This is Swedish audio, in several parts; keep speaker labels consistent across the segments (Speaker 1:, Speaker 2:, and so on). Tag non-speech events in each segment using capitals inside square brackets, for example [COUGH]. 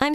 Speaker 1: I'm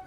Speaker 2: All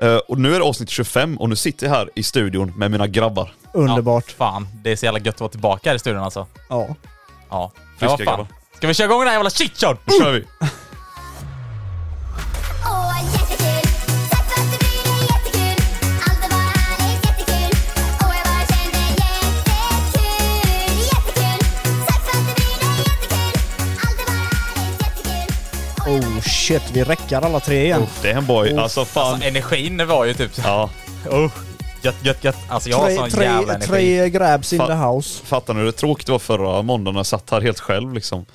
Speaker 3: Eh, och nu är det avsnitt 25 och nu sitter jag här i studion med mina grabbar.
Speaker 4: Underbart.
Speaker 5: Fan, det är så jävla gött att vara tillbaka här i studion alltså.
Speaker 4: Ja.
Speaker 5: Ja.
Speaker 3: Friska
Speaker 5: ja, fan.
Speaker 3: grabbar.
Speaker 5: Ska vi köra igång den här jävla chitcharn?
Speaker 3: Nu kör vi!
Speaker 6: Åh, jättekul! Tack för att du brydde dig, jättekul! Allt det var härligt, jättekul! Åh, jag bara känner jättekul, jättekul! Tack för att du brydde dig, jättekul! Allt det var härligt, jättekul! Åh, jag bara
Speaker 4: Oh shit, vi räckar alla tre igen.
Speaker 3: Damn boy, alltså fan.
Speaker 5: Alltså energin var ju typ så
Speaker 3: ja,
Speaker 5: oh, gött, gött, gött. Alltså jag har
Speaker 4: tre,
Speaker 5: sån
Speaker 4: tre,
Speaker 5: jävla energi.
Speaker 4: tre grabs in
Speaker 3: Fan.
Speaker 4: the house.
Speaker 3: fattar ni hur tråkigt det var förra måndagen när jag satt här helt själv liksom.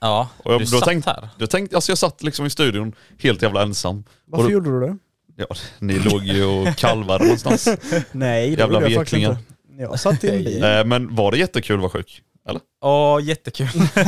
Speaker 5: Ja,
Speaker 3: Och jag,
Speaker 5: du
Speaker 3: då
Speaker 5: satt
Speaker 3: tänkt-
Speaker 5: här.
Speaker 3: Då tänkte, alltså jag satt liksom i studion helt jävla ensam.
Speaker 4: Varför
Speaker 3: och då,
Speaker 4: gjorde du det?
Speaker 3: ja, ni låg ju och kalvade någonstans.
Speaker 4: [LAUGHS] Nej, det
Speaker 3: Jävla
Speaker 4: gjorde jag faktiskt
Speaker 3: veklingar.
Speaker 4: inte. Jag satt i en bil.
Speaker 3: Nej men var det jättekul att vara sjuk? Eller?
Speaker 5: Åh, jättekul.
Speaker 3: Tack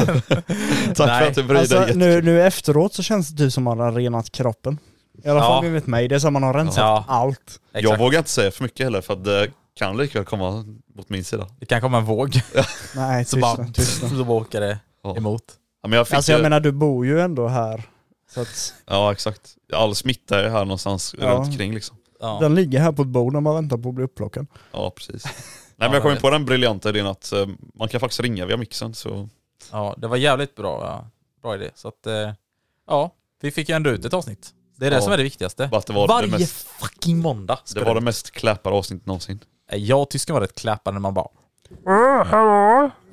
Speaker 3: för
Speaker 5: Nej.
Speaker 3: att du brydde dig.
Speaker 4: Alltså,
Speaker 3: jättemycket.
Speaker 4: nu, nu efteråt så känns det typ som att man har renat kroppen. [LAUGHS] I alla
Speaker 5: Ja.
Speaker 4: fall enligt mig. Det är som att man har rensat
Speaker 5: Ja.
Speaker 4: allt.
Speaker 3: Jag
Speaker 5: Exakt.
Speaker 3: vågar inte säga för mycket heller för att det kan likväl komma mot min sida.
Speaker 5: Det kan komma en våg.
Speaker 4: [LAUGHS] Nej,
Speaker 5: Så bara,
Speaker 4: tystna. tystna.
Speaker 5: så bara åker det
Speaker 3: Ja.
Speaker 5: emot.
Speaker 3: Ja, men jag fick
Speaker 4: Alltså jag
Speaker 3: ju-
Speaker 4: menar, du bor ju ändå här. Så att
Speaker 3: Ja exakt. All smitta är här någonstans
Speaker 4: Ja.
Speaker 3: runt omkring liksom.
Speaker 5: Ja.
Speaker 4: den ligger här på ett bord när man väntar på att bli upplockad.
Speaker 3: Ja
Speaker 4: [LAUGHS]
Speaker 3: precis. Nej men jag
Speaker 5: jag
Speaker 3: kom in
Speaker 5: vet.
Speaker 3: på den briljanta idén att eh, man kan faktiskt ringa via mixen så
Speaker 5: ja, det var jävligt bra. Ja. Bra idé. Så att, eh, ja, vi fick ju ändå ut ett avsnitt. Det är det
Speaker 3: Ja.
Speaker 5: som är det viktigaste.
Speaker 3: bara att det var
Speaker 5: Varje
Speaker 3: det mest,
Speaker 5: fucking måndag.
Speaker 3: det var det mest kläpade avsnittet någonsin.
Speaker 5: Jag och tysken var rätt kläpande när man bara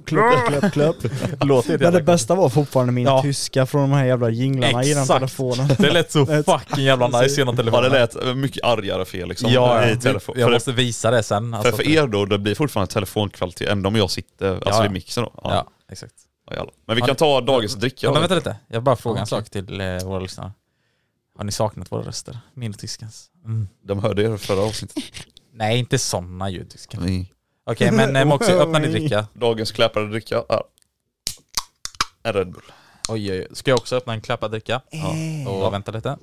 Speaker 4: Klöpp, klöpp, klöpp.
Speaker 5: Låter
Speaker 4: Men det bästa var fortfarande min
Speaker 5: Ja.
Speaker 4: tyska från de här jävla jinglarna i den
Speaker 5: Exakt.
Speaker 4: telefonen.
Speaker 5: Det lät så fucking jävla nice genom
Speaker 3: Ja det
Speaker 5: telefonen.
Speaker 3: lät eh, mycket argare för er liksom.
Speaker 5: ja,
Speaker 3: i
Speaker 5: ja.
Speaker 3: telefon.
Speaker 5: Jag
Speaker 3: för,
Speaker 5: måste visa det sen.
Speaker 3: för,
Speaker 5: alltså.
Speaker 3: för er då, det blir fortfarande telefonkvalitet ändå om jag sitter, alltså
Speaker 5: ja.
Speaker 3: i mixen då. Ja.
Speaker 5: Ja, exakt.
Speaker 3: Ja, jävlar. men vi
Speaker 5: Har
Speaker 3: kan
Speaker 5: ni-
Speaker 3: ta dagens dricka
Speaker 5: Ja,
Speaker 3: då.
Speaker 5: men vänta lite, jag bara frågar en
Speaker 3: Okej.
Speaker 5: sak till eh, våra lyssnare. Har ni saknat våra röster? Min och tyskens? Mm.
Speaker 3: De hörde er förra avsnittet.
Speaker 5: Nej, inte sådana ljud tysken.
Speaker 3: Nej.
Speaker 5: Okej, men eh, Moxie, öppna din dricka.
Speaker 3: Dagens kläpade dricka är en Red Bull.
Speaker 5: Oj, oj, oj. Ska jag också öppna en klappad dricka? Ja.
Speaker 4: Eh.
Speaker 5: Och vänta lite.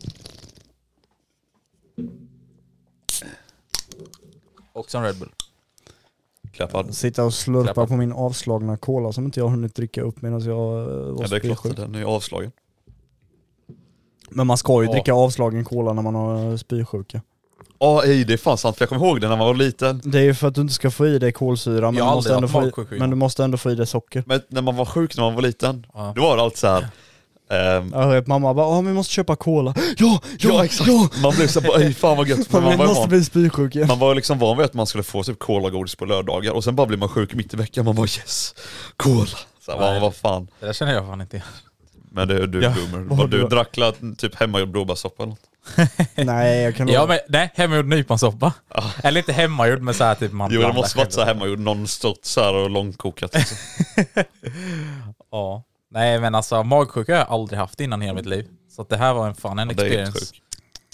Speaker 5: Också en Red Bull.
Speaker 3: Kläpad.
Speaker 4: Sitta och slurpa
Speaker 5: Släppa.
Speaker 4: på min avslagna cola som inte jag hunnit dricka upp medan jag eh, var
Speaker 3: Ja, det är klart,
Speaker 4: spysjuk.
Speaker 3: den är avslagen.
Speaker 4: Men man ska ju
Speaker 3: Ja.
Speaker 4: dricka avslagen cola när man har spysjuka.
Speaker 3: Ja, ej, det är fan sant för jag kommer ihåg det när man var liten.
Speaker 4: Det är ju för att du inte ska få i dig kolsyra men,
Speaker 5: Jag
Speaker 4: du
Speaker 5: har
Speaker 4: måste,
Speaker 5: aldrig
Speaker 4: ändå
Speaker 5: haft
Speaker 4: få i,
Speaker 5: magsjuka innan.
Speaker 4: men du måste ändå få i dig socker.
Speaker 3: Men när man var sjuk när man var liten,
Speaker 5: Ja.
Speaker 3: då var det alltid såhär... Ehm,
Speaker 4: Jag hör att mamma bara "Ah, vi måste köpa cola. [GASPS] Ja, ja, ja!
Speaker 3: exakt. Man blev såhär, ej fan vad
Speaker 4: [LAUGHS]
Speaker 3: gött. Men
Speaker 4: Fan,
Speaker 3: man
Speaker 4: vi
Speaker 3: var, ju
Speaker 4: måste
Speaker 3: van,
Speaker 4: bli spysjuk igen.
Speaker 3: man var ju liksom van vid att man skulle få typ colagodis på lördagar och sen bara blev man sjuk mitt i veckan. Man bara yes, cola. Så här,
Speaker 5: Nej.
Speaker 3: vad, vad fan.
Speaker 5: Det där känner jag fan inte igen.
Speaker 3: Men du, du
Speaker 5: Ja,
Speaker 3: är boomer.
Speaker 4: vad har
Speaker 3: du
Speaker 4: du-
Speaker 3: drack la, typ hemmagjord blåbärssoppa eller något?
Speaker 4: Nej, jag kan
Speaker 5: Ja, men, nej, hemmagjord nyponsoppa. Eller inte hemmagjord, men så här typ man
Speaker 3: Jo det
Speaker 5: blandar
Speaker 3: måste varit
Speaker 5: själv.
Speaker 3: såhär hemmagjord nonstop såhär och
Speaker 5: [LAUGHS]
Speaker 3: långkokat. Liksom.
Speaker 5: Ja. Nej, men alltså magsjuka har jag aldrig haft innan i hela mitt liv. Så att det här var en fan en
Speaker 3: Ja, det är helt
Speaker 5: experience.
Speaker 3: sjukt.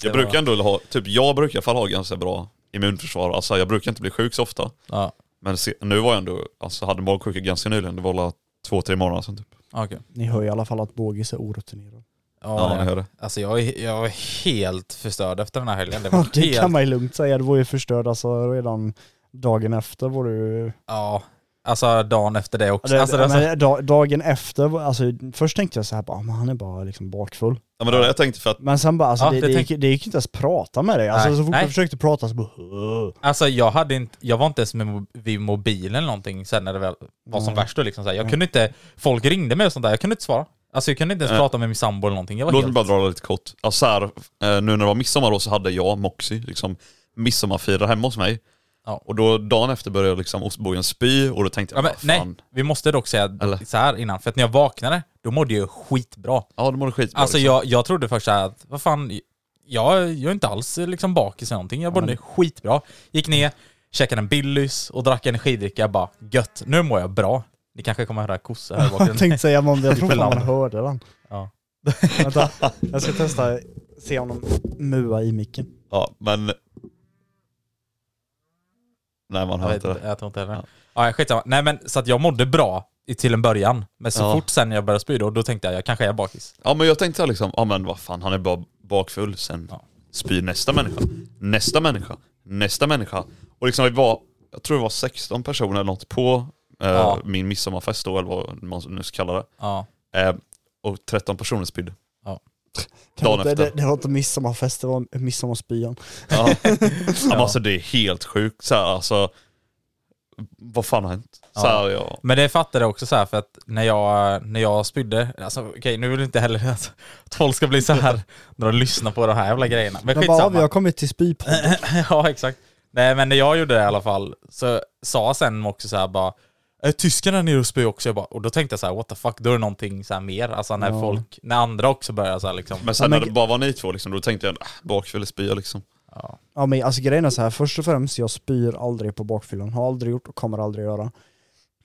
Speaker 3: Jag brukar ändå ha, typ jag brukar i alla fall ha ganska bra immunförsvar. Alltså jag brukar inte bli sjuk så ofta.
Speaker 5: Ja.
Speaker 3: Men se, nu var jag ändå, alltså hade magsjuka ganska nyligen. Det var la två, tre månader sedan typ.
Speaker 5: Ja, okej.
Speaker 4: Ni hör i alla fall att Bågis är orutinerad.
Speaker 3: Ja, ni
Speaker 5: nej.
Speaker 3: hör det.
Speaker 5: Alltså jag, är- jag är helt förstörd efter den här helgen.
Speaker 4: [LAUGHS]
Speaker 5: Det var
Speaker 4: Ja, det kan
Speaker 5: helt...
Speaker 4: man ju lugnt säga. Du var ju förstörd alltså redan dagen efter var du...
Speaker 5: Ja. Alltså dagen efter det också.
Speaker 4: Det,
Speaker 5: alltså, det,
Speaker 4: men,
Speaker 5: var så-
Speaker 4: da, dagen efter, var- alltså först tänkte jag så här bara, "Men han är bara liksom bakfull.
Speaker 3: Ja, men det var det jag tänkte för att
Speaker 4: Men sen bara, alltså
Speaker 5: Ja,
Speaker 4: det,
Speaker 5: det
Speaker 4: det, gick,
Speaker 5: tänk-
Speaker 4: det gick inte ens att prata med dig. Alltså
Speaker 5: Nej,
Speaker 4: så fort
Speaker 5: nej.
Speaker 4: jag försökte prata så bara... "Åh."
Speaker 5: alltså jag hade inte, jag var inte ens med, mo- vid mobilen eller någonting sen när det väl var som värst. då, Liksom, så här. Jag kunde inte, folk ringde mig och sånt där, jag kunde inte svara. Alltså jag kunde inte ens
Speaker 3: Nej.
Speaker 5: prata med min sambo eller någonting. Jag var
Speaker 3: Låt mig
Speaker 5: helt...
Speaker 3: bara dra det lite kort. Alltså här, eh, nu när det var midsommar då så hade jag och Moxie liksom midsommarfirare hemma hos mig.
Speaker 5: Ja.
Speaker 3: Och då dagen efter började liksom ostbågen spy och då tänkte
Speaker 5: Ja,
Speaker 3: jag,
Speaker 5: men,
Speaker 3: ja, fan.
Speaker 5: nej, vi måste dock säga
Speaker 3: Eller?
Speaker 5: så här innan, för att när jag vaknade, då mådde jag skitbra.
Speaker 3: Ja, då mår du skitbra.
Speaker 5: Alltså
Speaker 3: liksom.
Speaker 5: jag, jag trodde först så här att, vad fan, jag, jag är inte alls eh, liksom bakis eller någonting. Jag mådde skitbra. Gick ner, käkade en Billys och drack energidricka. Jag bara, gött, nu mår jag bra. Ni kanske kommer höra kossa
Speaker 4: [LAUGHS]
Speaker 5: här i
Speaker 4: Jag
Speaker 5: bakgrunden.
Speaker 4: tänkte säga någonting,
Speaker 5: [LAUGHS]
Speaker 4: jag tror fan man
Speaker 5: Ibland.
Speaker 4: hörde den.
Speaker 5: Ja.
Speaker 4: Vänta, jag ska testa, se om de muar i micken.
Speaker 3: Ja, men... Nej, man
Speaker 5: Jag,
Speaker 3: hör
Speaker 5: vet,
Speaker 3: inte
Speaker 5: inte,
Speaker 3: det.
Speaker 5: jag tror inte heller.
Speaker 3: Ja.
Speaker 5: Ja. Ja, skitsamma. Nej men så att jag mådde bra i, till en början. Men så
Speaker 3: Ja.
Speaker 5: fort sen jag började spy då, då tänkte jag jag kanske är bakis.
Speaker 3: Ja, men jag tänkte så här liksom, ja men vad fan, han är bara bakfull. Sen
Speaker 5: Ja.
Speaker 3: spyr nästa människa, nästa människa, nästa människa. Och liksom vi var, jag tror det var 16 personer eller något på eh,
Speaker 5: Ja.
Speaker 3: min midsommarfest då, eller vad man nu ska kalla det.
Speaker 5: Ja.
Speaker 3: Eh, och 13 personer spydde.
Speaker 5: Ja.
Speaker 4: Det,
Speaker 3: Dagen
Speaker 4: var- det,
Speaker 3: efter.
Speaker 4: det var inte midsommarfest, det var midsommarspyan. [LAUGHS]
Speaker 3: Ja. ja. men alltså det är helt sjukt. Så här, alltså, vad fan har hänt? Så här, ja.
Speaker 5: Men det fattade jag också så här för att när jag, när jag spydde, alltså okej nu vill jag inte heller att, att folk ska bli så här när de lyssnar på de här jävla grejerna. Men
Speaker 4: Men bara, vi
Speaker 5: skitsamma.
Speaker 4: har kommit till spypodden.
Speaker 5: [LAUGHS] ja, exakt. Nej, men när jag gjorde det i alla fall så sa sen också så här bara Är tyskarna nere och spyr också? Jag bara, och då tänkte jag så här, what the fuck, då är det någonting så här mer. Alltså när
Speaker 4: Ja.
Speaker 5: folk, när andra också börjar så här liksom.
Speaker 3: Men sen
Speaker 4: Ja, men-
Speaker 3: när det bara var ni två liksom, då tänkte jag äh, bakfull spya
Speaker 4: [LAUGHS]
Speaker 3: liksom.
Speaker 4: Ja men alltså grejen är så här, först och främst jag spyr aldrig på bakfyllan, har aldrig gjort och kommer aldrig göra.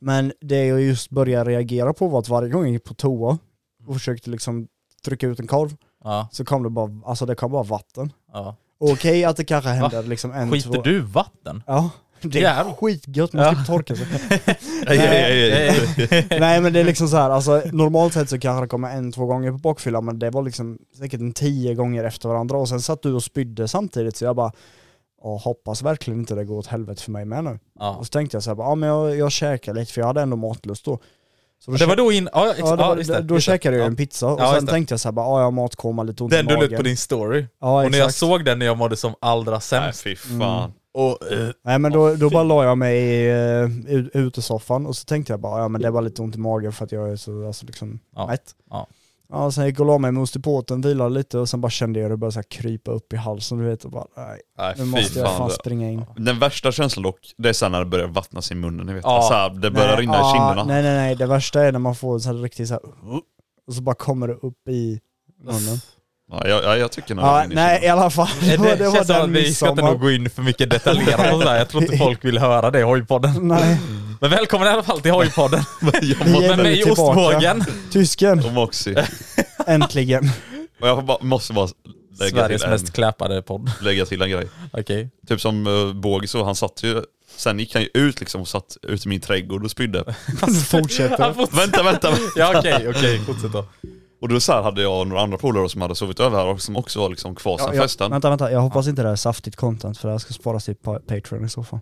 Speaker 4: Men det jag just började reagera på var att varje gång jag gick på toa och försökte liksom trycka ut en korv
Speaker 5: Mm. Ja,
Speaker 4: så kom det bara, alltså det kom bara vatten.
Speaker 5: ja.
Speaker 4: Och Okej att det kanske hände liksom en, två...
Speaker 5: Skiter du i vatten?
Speaker 4: Ja, det är
Speaker 5: Jävlar.
Speaker 4: skitgött, man slipper torka sig.
Speaker 3: Nej, nej,
Speaker 4: [LAUGHS] Nej men det är liksom så här, alltså normalt sett så kanske det kommer en, två gånger på bakfylla men det var liksom säkert en tio gånger efter varandra och sen satt du och spydde samtidigt så jag bara "Ja, hoppas verkligen inte det går åt helvete för mig med nu.
Speaker 5: Ja.
Speaker 4: Och så tänkte jag så här, bara, ja men jag, jag käkar lite för jag hade ändå matlust då. Så då
Speaker 5: Det var
Speaker 4: käk-
Speaker 5: då in... Ja, ex-
Speaker 4: Ja, det
Speaker 5: ja,
Speaker 4: var,
Speaker 5: just det,
Speaker 4: då
Speaker 5: just det.
Speaker 4: käkade jag
Speaker 5: Ja.
Speaker 4: en pizza och
Speaker 5: Ja,
Speaker 4: sen
Speaker 5: just det.
Speaker 4: tänkte jag så här, bara, ja jag har matkoma, lite ont
Speaker 5: Den
Speaker 4: i
Speaker 5: du
Speaker 4: magen.
Speaker 5: la upp på din story.
Speaker 4: Ja
Speaker 5: och när jag
Speaker 4: exakt.
Speaker 5: såg den när jag mådde som allra
Speaker 3: nej
Speaker 5: sämst.
Speaker 3: fy fan.
Speaker 5: Och, eh,
Speaker 4: Nej men då, då bara la jag mig i eh, ut- utesoffan och så tänkte jag bara, ja men det var lite ont i magen för att jag är så alltså, liksom
Speaker 5: Ja,
Speaker 4: mätt.
Speaker 5: ja.
Speaker 4: Ja, sen gick jag och la mig med ost i påten, vilade lite och sen bara kände jag det började så här krypa upp i halsen du vet och bara nej,
Speaker 3: Nej,
Speaker 4: nu
Speaker 3: fy
Speaker 4: måste jag
Speaker 3: fan.
Speaker 4: fan springa [LAUGHS] in.
Speaker 3: Den värsta känslan dock, det är sen när det börjar vattnas i munnen, ni vet.
Speaker 5: Ja.
Speaker 3: Så här, det börjar
Speaker 4: nej,
Speaker 3: rinna i
Speaker 4: ah,
Speaker 3: kinderna.
Speaker 4: Nej nej nej, det värsta är när man får så här riktigt så här, och så bara kommer det upp i munnen.
Speaker 3: Ja, jag, jag, jag tycker när det
Speaker 4: Ja,
Speaker 3: rinner i
Speaker 4: nej i
Speaker 3: kinderna.
Speaker 4: alla fall, det, var-
Speaker 5: det,
Speaker 4: det var
Speaker 5: känns som att
Speaker 4: den
Speaker 5: vi ska inte nog
Speaker 4: midsommar.
Speaker 5: gå in för mycket detaljerat och sådär. Jag tror inte folk vill höra det i hojpodden.
Speaker 4: Nej,
Speaker 5: Men välkommen i alla fall till hojpodden.
Speaker 3: Jag
Speaker 4: vi är
Speaker 5: Med
Speaker 4: nu
Speaker 5: mig
Speaker 4: tillbaka.
Speaker 5: [LAUGHS] ostbågen.
Speaker 4: Tysken,
Speaker 3: Och Moxie.
Speaker 4: äntligen.
Speaker 3: Och jag får bara, måste bara lägga till,
Speaker 5: Sveriges
Speaker 3: en,
Speaker 5: mest kläpade podd.
Speaker 3: lägga till en grej.
Speaker 5: Okej.
Speaker 3: Typ som uh, Båge så, han satt ju, sen gick han ju ut liksom och satt ute i min trädgård och
Speaker 4: [LAUGHS]
Speaker 3: spydde.
Speaker 4: Fortsätter.
Speaker 5: Han får-
Speaker 3: vänta, vänta, vänta.
Speaker 5: Ja okej, okej. Fortsätt då.
Speaker 3: Och då så här hade jag några andra polare som hade sovit över här och som också var liksom kvar sen
Speaker 4: Ja, jag,
Speaker 3: festen.
Speaker 4: Vänta, vänta. Jag hoppas inte det här är saftigt content för det här ska sparas till pa- Patreon i så fall.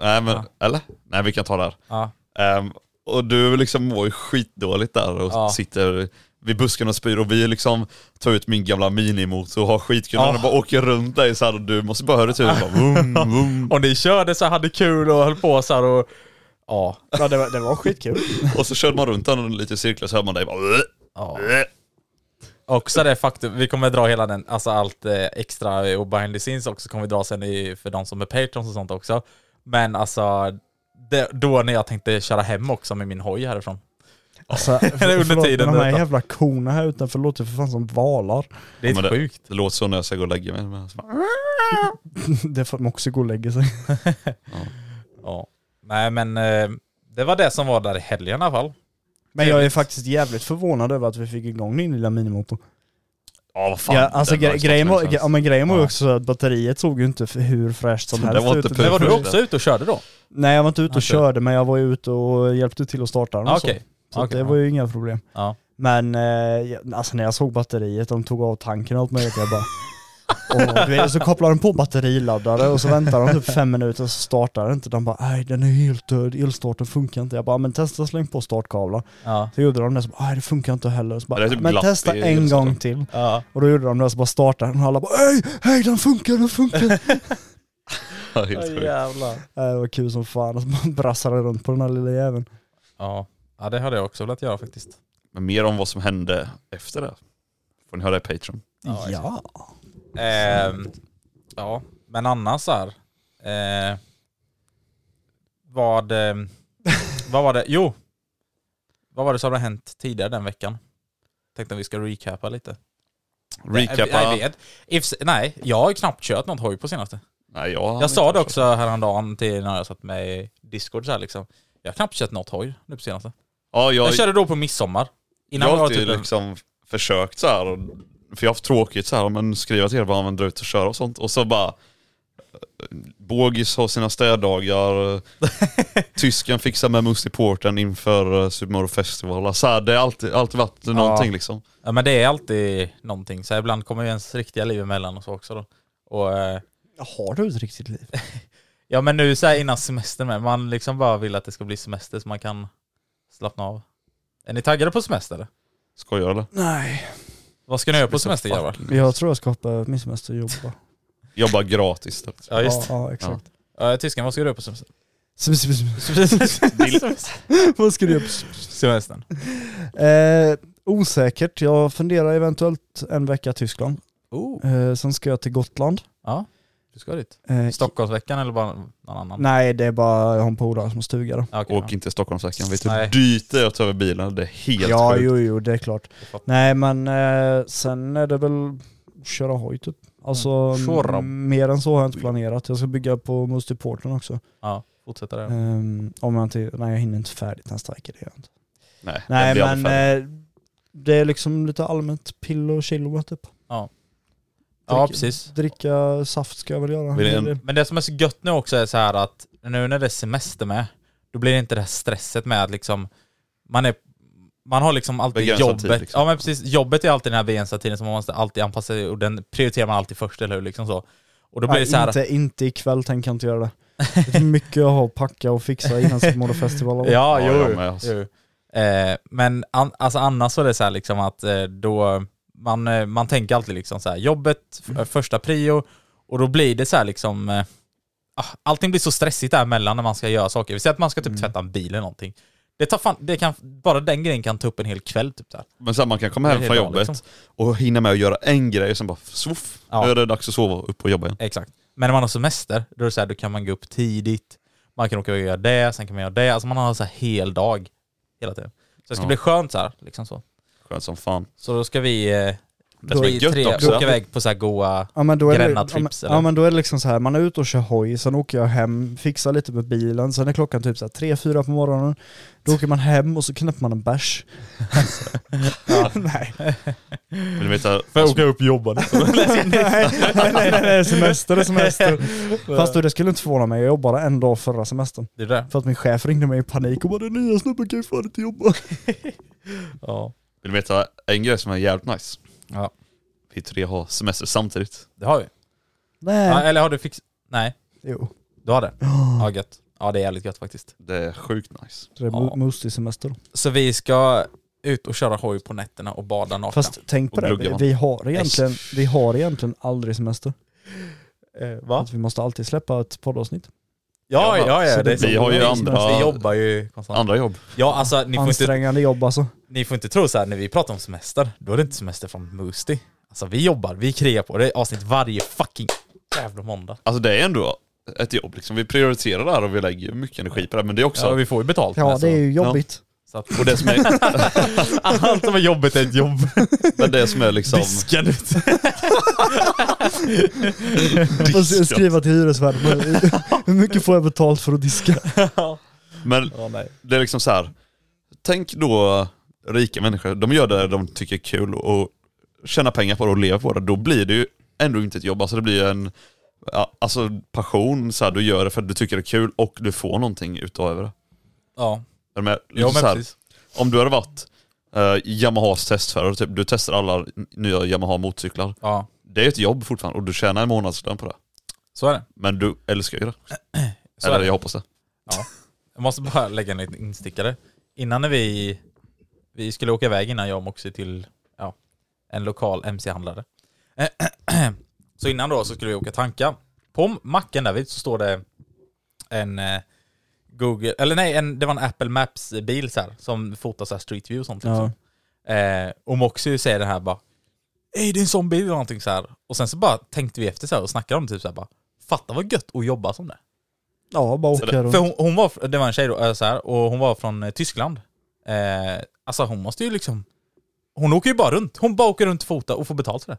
Speaker 3: Nej men,
Speaker 5: Ja.
Speaker 3: eller? Nej vi kan ta det här.
Speaker 5: Ja.
Speaker 3: Ehm, och du liksom mår ju skitdåligt där och
Speaker 5: Ja.
Speaker 3: sitter vid busken och spyr och vi liksom tar ut min gamla minimotor och har skitkul
Speaker 5: Ja.
Speaker 3: och bara åker runt dig så här och du måste bara höra ut bara vum, vum.
Speaker 5: Och ni körde så här, hade kul och höll på så här och... Ja.
Speaker 4: Ja det var, det var skitkul.
Speaker 3: Och så körde man runt den lite i cirklar så hör man dig bara "Åh,
Speaker 5: ja.
Speaker 3: åh."
Speaker 5: Också det faktum, vi kommer dra hela den, alltså allt eh, extra och behind the scenes också kommer vi dra sen i, för de som är patrons och sånt också. Men alltså, det, då när jag tänkte köra hem också med min hoj härifrån.
Speaker 4: Alltså, för,
Speaker 5: under
Speaker 4: förlåt,
Speaker 5: tiden
Speaker 4: men de här
Speaker 5: detta.
Speaker 4: jävla korna här utanför låter för fan som valar.
Speaker 5: Det är
Speaker 3: Men
Speaker 5: ja,
Speaker 3: det-
Speaker 5: sjukt.
Speaker 3: Det låter så när jag ska gå och lägga mig. Men så bara,
Speaker 4: Det är för att de också går och lägger sig.
Speaker 5: [LAUGHS] Ja. Nej men, eh, det var det som var där i helgen i alla fall.
Speaker 4: Men jag är
Speaker 5: Trevligt.
Speaker 4: faktiskt jävligt förvånad över att vi fick igång din lilla minimotor.
Speaker 3: Ja vad fan.
Speaker 4: Ja, alltså
Speaker 3: den
Speaker 4: gre-
Speaker 3: har ju stått
Speaker 4: grejen,
Speaker 3: länge
Speaker 4: var,
Speaker 3: sedan.
Speaker 4: ja, men grejen var ju
Speaker 5: Ja.
Speaker 4: också att batteriet såg ju inte för hur fräscht som
Speaker 3: Det
Speaker 4: helst
Speaker 3: var inte
Speaker 4: ut.
Speaker 3: perfekt.
Speaker 5: Men var du
Speaker 3: först
Speaker 5: också ute och körde då?
Speaker 4: Nej jag var inte ute och
Speaker 5: Okej.
Speaker 4: körde men jag var ju ute och hjälpte till att starta den och
Speaker 5: Ja,
Speaker 4: så.
Speaker 5: Okej.
Speaker 4: Så
Speaker 5: Okej,
Speaker 4: det
Speaker 5: ja.
Speaker 4: var ju inga problem.
Speaker 5: Ja.
Speaker 4: Men eh, jag- alltså när jag såg batteriet, de tog av tanken och allt möjligt, jag bara... Och
Speaker 5: [LAUGHS]
Speaker 4: du vet, så kopplar de på batteriladdare och så väntar de typ fem minuter och så startar den inte. De bara nej den är helt död, elstarten funkar inte. Jag bara men testa släng på startkablar.
Speaker 5: Ja.
Speaker 4: Så gjorde de det så bara nej det funkar inte heller. Så
Speaker 3: Det
Speaker 4: bara,
Speaker 3: är typ
Speaker 4: men
Speaker 3: glapp
Speaker 4: testa
Speaker 3: i
Speaker 4: en
Speaker 3: elstarten."
Speaker 4: gång till.
Speaker 5: Ja.
Speaker 4: Och då gjorde de det så bara startade den och alla bara hej, hej den funkar,
Speaker 5: [LAUGHS]
Speaker 4: den funkar.
Speaker 3: Ja, helt sjukt.
Speaker 5: jävlar.
Speaker 4: det var kul som fan och så bara brassade runt på den här lilla jäveln.
Speaker 5: Ja. ja, det hade jag också velat göra faktiskt.
Speaker 3: Men mer om vad som hände efter det får ni höra i Patreon.
Speaker 5: Ja,
Speaker 4: Ja.
Speaker 5: Ehm, ja, men annars så här. Eh, vad,
Speaker 4: [LAUGHS]
Speaker 5: ehm, vad var det? Jo! Vad var det som hade hänt tidigare den veckan? Tänkte att vi ska recapa lite. Jag,
Speaker 3: Recapa.
Speaker 5: vet. If, nej, jag har ju knappt kört något hoj på senaste.
Speaker 3: Nej, jag
Speaker 5: Jag sa det också häromdagen till när jag satt med i Discord så här liksom. Jag har knappt kört något hoj nu på senaste.
Speaker 3: Ja, jag,
Speaker 5: Jag körde då på midsommar. Innan
Speaker 3: jag
Speaker 5: var
Speaker 3: har
Speaker 5: det
Speaker 3: alltid
Speaker 5: typ en-
Speaker 3: liksom försökt så här, och, för jag har haft tråkigt så här, men skriva till er vad man drar ut och köra och sånt. Och så bara, eh, Bågis har sina städdagar,
Speaker 5: [LAUGHS]
Speaker 3: eh, tysken fixar med Musty Porten inför eh, Super Mario Festival. Alltså, här, det har alltid, alltid varit någonting liksom.
Speaker 5: Ja men det är alltid någonting. Så här, ibland kommer ju ens riktiga liv emellan och så också då. Och, eh,
Speaker 4: Har du ett riktigt liv?
Speaker 5: ja men nu så här innan semestern med, man liksom bara vill att det ska bli semester så man kan slappna av. Är ni taggade på semester eller?
Speaker 3: Skojar eller?
Speaker 4: Nej.
Speaker 5: Vad ska ni göra på semester grabbar?
Speaker 4: Jag tror jag ska hoppa över min semester och jobba.
Speaker 3: Jobbar gratis istället.
Speaker 5: Ja just det.
Speaker 4: Ja, ja exakt.
Speaker 5: Ja. tysken, vad ska du göra på semester?
Speaker 4: [LAUGHS] Vad ska du göra på
Speaker 5: semestern?
Speaker 4: Eh, osäkert. Jag funderar eventuellt en vecka Tyskland.
Speaker 5: Oh.
Speaker 4: Eh, sen ska jag till Gotland.
Speaker 5: Ja, du ska dit.
Speaker 4: Eh,
Speaker 5: Stockholmsveckan eller bara någon annan?
Speaker 4: nej, det är bara jag har en polare som har stuga där.
Speaker 5: Ja, okej,
Speaker 3: Åk inte till Stockholmsveckan, vet du hur
Speaker 5: Nej.
Speaker 3: dyrt det är att ta över bilen? Det är helt
Speaker 4: Ja,
Speaker 3: sjukt.
Speaker 4: jo, jo, det är klart.
Speaker 5: ja, jag fattar.
Speaker 4: Nej, men eh, sen är det väl köra hoj typ. Alltså,
Speaker 5: Mm. Köra.
Speaker 4: m- mer än så har jag inte planerat. Jag ska bygga på Mustiporten också.
Speaker 5: ja, fortsätta där.
Speaker 4: Ehm, om jag inte, nej, jag hinner inte färdigt nästa vecka, det gör jag inte.
Speaker 3: Nej,
Speaker 4: Nej,
Speaker 3: jag blir aldrig
Speaker 4: men
Speaker 3: färdig.
Speaker 4: eh, det är liksom lite allmänt pill och chillo typ.
Speaker 5: Ja,
Speaker 4: drick-
Speaker 5: precis.
Speaker 4: Dricka saft ska jag väl göra.
Speaker 3: Vill en-
Speaker 4: Det är det.
Speaker 5: Men eh, det som är så gött nu också är så här att nu när det är semester med, då blir det inte det här stresset med att liksom man är man har liksom alltid
Speaker 3: Begränsad
Speaker 5: jobbet.
Speaker 3: tid, liksom.
Speaker 5: Ja men precis, jobbet är alltid den här begränsade tiden som man måste alltid anpassa sig och den prioriterar man alltid först, eller hur? Liksom så. Och då blir
Speaker 4: Nej,
Speaker 5: det så här,
Speaker 4: inte, inte ikväll tänker jag inte göra det. Det är mycket jag har att packa och fixa innan Super Mario Festival.
Speaker 5: Ja,
Speaker 3: Ja,
Speaker 5: jo.
Speaker 3: jag med, alltså.
Speaker 5: jo. Eh, men an, alltså annars så är det så här liksom att eh, då man, eh, man tänker alltid liksom så här, jobbet, f-
Speaker 3: Mm.
Speaker 5: första prio, och då blir det så här liksom, eh, ah, allting blir så stressigt däremellan när man ska göra saker. Vi säger att man ska typ
Speaker 3: Mm.
Speaker 5: tvätta en bil eller någonting. Det tar fan, det kan, bara den grejen kan ta upp en hel kväll typ där.
Speaker 3: Men sen man kan komma
Speaker 5: Det är
Speaker 3: hem från
Speaker 5: helt bra,
Speaker 3: jobbet
Speaker 5: liksom.
Speaker 3: och hinna med att göra en grej och sen bara svoff,
Speaker 5: Ja.
Speaker 3: nu är det dags att sova och upp och jobba igen.
Speaker 5: Exakt. Men när man har semester, då är det så här, då kan man gå upp tidigt, man kan åka och göra det, sen kan man göra det. Alltså man har så här hel dag hela tiden. Så det ska
Speaker 3: Ja.
Speaker 5: bli skönt så här, liksom så.
Speaker 3: Skönt som fan.
Speaker 5: Så då ska vi, eh,
Speaker 3: Det som är
Speaker 5: vi tre
Speaker 3: gött också.
Speaker 5: åka iväg på så här goa...
Speaker 4: Ja men, då är det,
Speaker 5: Gränna
Speaker 4: ja, men,
Speaker 5: trips, eller?
Speaker 4: ja men då är det liksom så här, man är ute och kör hoj, sen åker jag hem, fixar lite med bilen, sen är klockan typ så här 3-4 på morgonen, då åker man hem och så knäpper man en bärs. nej.
Speaker 3: Vill du veta?
Speaker 5: upp och [LAUGHS] jobba
Speaker 4: [LAUGHS] nej, nej, nej, nej, semester är semester. [LAUGHS] Fast du, det skulle inte förvåna mig, jag jobbade en dag förra semestern.
Speaker 5: Det är det.
Speaker 4: För att min chef ringde mig i panik och bara den nya snubben kan ju fan inte jobba.
Speaker 5: Ja.
Speaker 3: Vill du veta en grej som är jävligt nice?
Speaker 5: ja.
Speaker 3: Vi tre har semester samtidigt.
Speaker 5: Det har vi.
Speaker 4: Nej.
Speaker 5: Ja, eller har du fixat... Nej,
Speaker 4: Jo,
Speaker 5: du
Speaker 4: [GASPS]
Speaker 5: har det. Ja, gött. Ja, det är jävligt gött faktiskt.
Speaker 3: Det är sjukt nice.
Speaker 4: det är
Speaker 5: Ja.
Speaker 4: ja. mustig semester.
Speaker 5: Så vi ska ut och köra hoj på nätterna och bada nakna.
Speaker 4: Fast tänk på
Speaker 3: Och
Speaker 4: det, vi,
Speaker 3: glugga.
Speaker 4: vi, har egentligen, vi har egentligen aldrig semester.
Speaker 5: va?
Speaker 4: Att vi måste alltid släppa ett poddavsnitt.
Speaker 5: Ja, ja, ja.
Speaker 4: Så
Speaker 5: Det är
Speaker 4: det-
Speaker 5: så.
Speaker 3: Vi har ju
Speaker 4: nice.
Speaker 3: andra,
Speaker 5: Vi jobbar ju konstant.
Speaker 3: andra jobb.
Speaker 5: Ja, alltså ni får, inte,
Speaker 4: Ansträngande jobb alltså.
Speaker 5: ni får inte tro så här när vi pratar om semester, då är det inte semester från Moosty. Alltså vi jobbar, vi krigar på. Det är avsnitt varje fucking jävla måndag.
Speaker 3: Alltså det är ändå ett jobb liksom. Vi prioriterar det här och vi lägger mycket energi på det. Men det är också...
Speaker 5: Ja, vi får ju betalt.
Speaker 4: Ja,
Speaker 5: med, så-
Speaker 4: det är ju jobbigt.
Speaker 5: så att-
Speaker 3: Och det som är,
Speaker 5: [LAUGHS] Allt som är jobbet är ett jobb.
Speaker 3: men det som är liksom...
Speaker 5: Diskan ut.
Speaker 4: [LAUGHS] Och s- skriva till hyresvärden, "Men hur mycket får jag betalt för att diska?
Speaker 3: [LAUGHS] Men det är liksom så här. Tänk då rika människor, de gör det de tycker är kul och tjänar pengar på det och lever på det. Då blir det ju ändå inte ett jobb. Alltså det blir ju en ja, alltså passion, så här, du gör det för att du tycker det är kul och du får någonting utav det.
Speaker 5: Ja,
Speaker 3: Är du med? Liksom
Speaker 5: ja men
Speaker 3: så här,
Speaker 5: precis.
Speaker 3: om du hade varit eh, Yamahas testförare, typ, du testar alla nya Yamaha motorcyklar.
Speaker 5: Ja,
Speaker 3: Det är ett jobb fortfarande och du tjänar en månadslön på det.
Speaker 5: så är det.
Speaker 3: Men du älskar ju det.
Speaker 5: [CLEARS THROAT] Så är
Speaker 3: Eller
Speaker 5: det.
Speaker 3: jag hoppas det.
Speaker 5: Ja. Jag måste bara lägga en liten instickare. Innan när vi, vi skulle åka iväg innan jag och Moxie till ja, en lokal MC-handlare. [CLEARS THROAT] Så innan då så skulle vi åka tanka. På macken där vid så står det en eh, Google, eller nej, en, det var en Apple Maps-bil så här, som fotar så här Street View och sånt. Liksom. Eh, och Moxie säger det här bara Ey det är en sån bil eller någonting så här. Och sen så bara tänkte vi efter så här och snackade om typ så här bara Fatta vad gött att jobba som det.
Speaker 4: Ja, bara åka runt.
Speaker 5: För hon, hon var, det var en tjej då, eh, så här, och hon var från eh, Tyskland. Eh, alltså hon måste ju liksom... Hon åker ju bara runt. Hon bara åker runt och fotar och får betalt för det.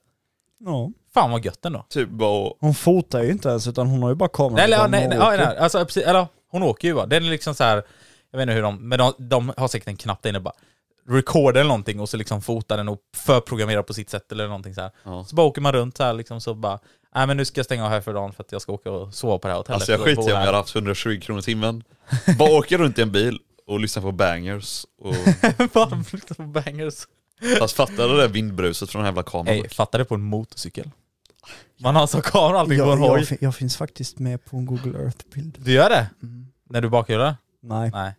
Speaker 4: Ja.
Speaker 5: Fan vad gött ändå.
Speaker 3: Typ bara
Speaker 4: Hon fotar ju inte ens utan hon har ju bara kameran.
Speaker 5: Nej, eller, ja,
Speaker 4: fram och
Speaker 5: nej, nej,
Speaker 4: åker.
Speaker 5: ja, nej, alltså, precis, eller hon åker ju bara. Den är liksom så här, jag vet inte hur de, men de, de har säkert en knapp där inne bara record eller någonting och så liksom fotar den och förprogrammerar på sitt sätt eller någonting så här. Så bara åker man runt så här liksom så bara, nej men nu ska jag stänga av här för dagen för att jag ska åka och sova på det här hotellet.
Speaker 3: Alltså jag
Speaker 5: Så jag
Speaker 3: skiter i om
Speaker 5: bor
Speaker 3: jag
Speaker 5: här.
Speaker 3: hade haft 120 kronor i timmen. Bara åka runt i en bil och lyssna på bangers. Och...
Speaker 5: [LAUGHS] Fan, liksom, flytta på bangers.
Speaker 3: Fast fattar du det där vindbruset från den här jävla kameran?
Speaker 5: Ey, fatta det på en motorcykel. Man har alltså kamera och allting på en
Speaker 4: Jag,
Speaker 5: hoj.
Speaker 4: jag, fin- jag finns faktiskt med på en Google Earth-bild. Mm.
Speaker 5: Du gör det? När du bakhjular?
Speaker 4: Nej.
Speaker 5: Nej.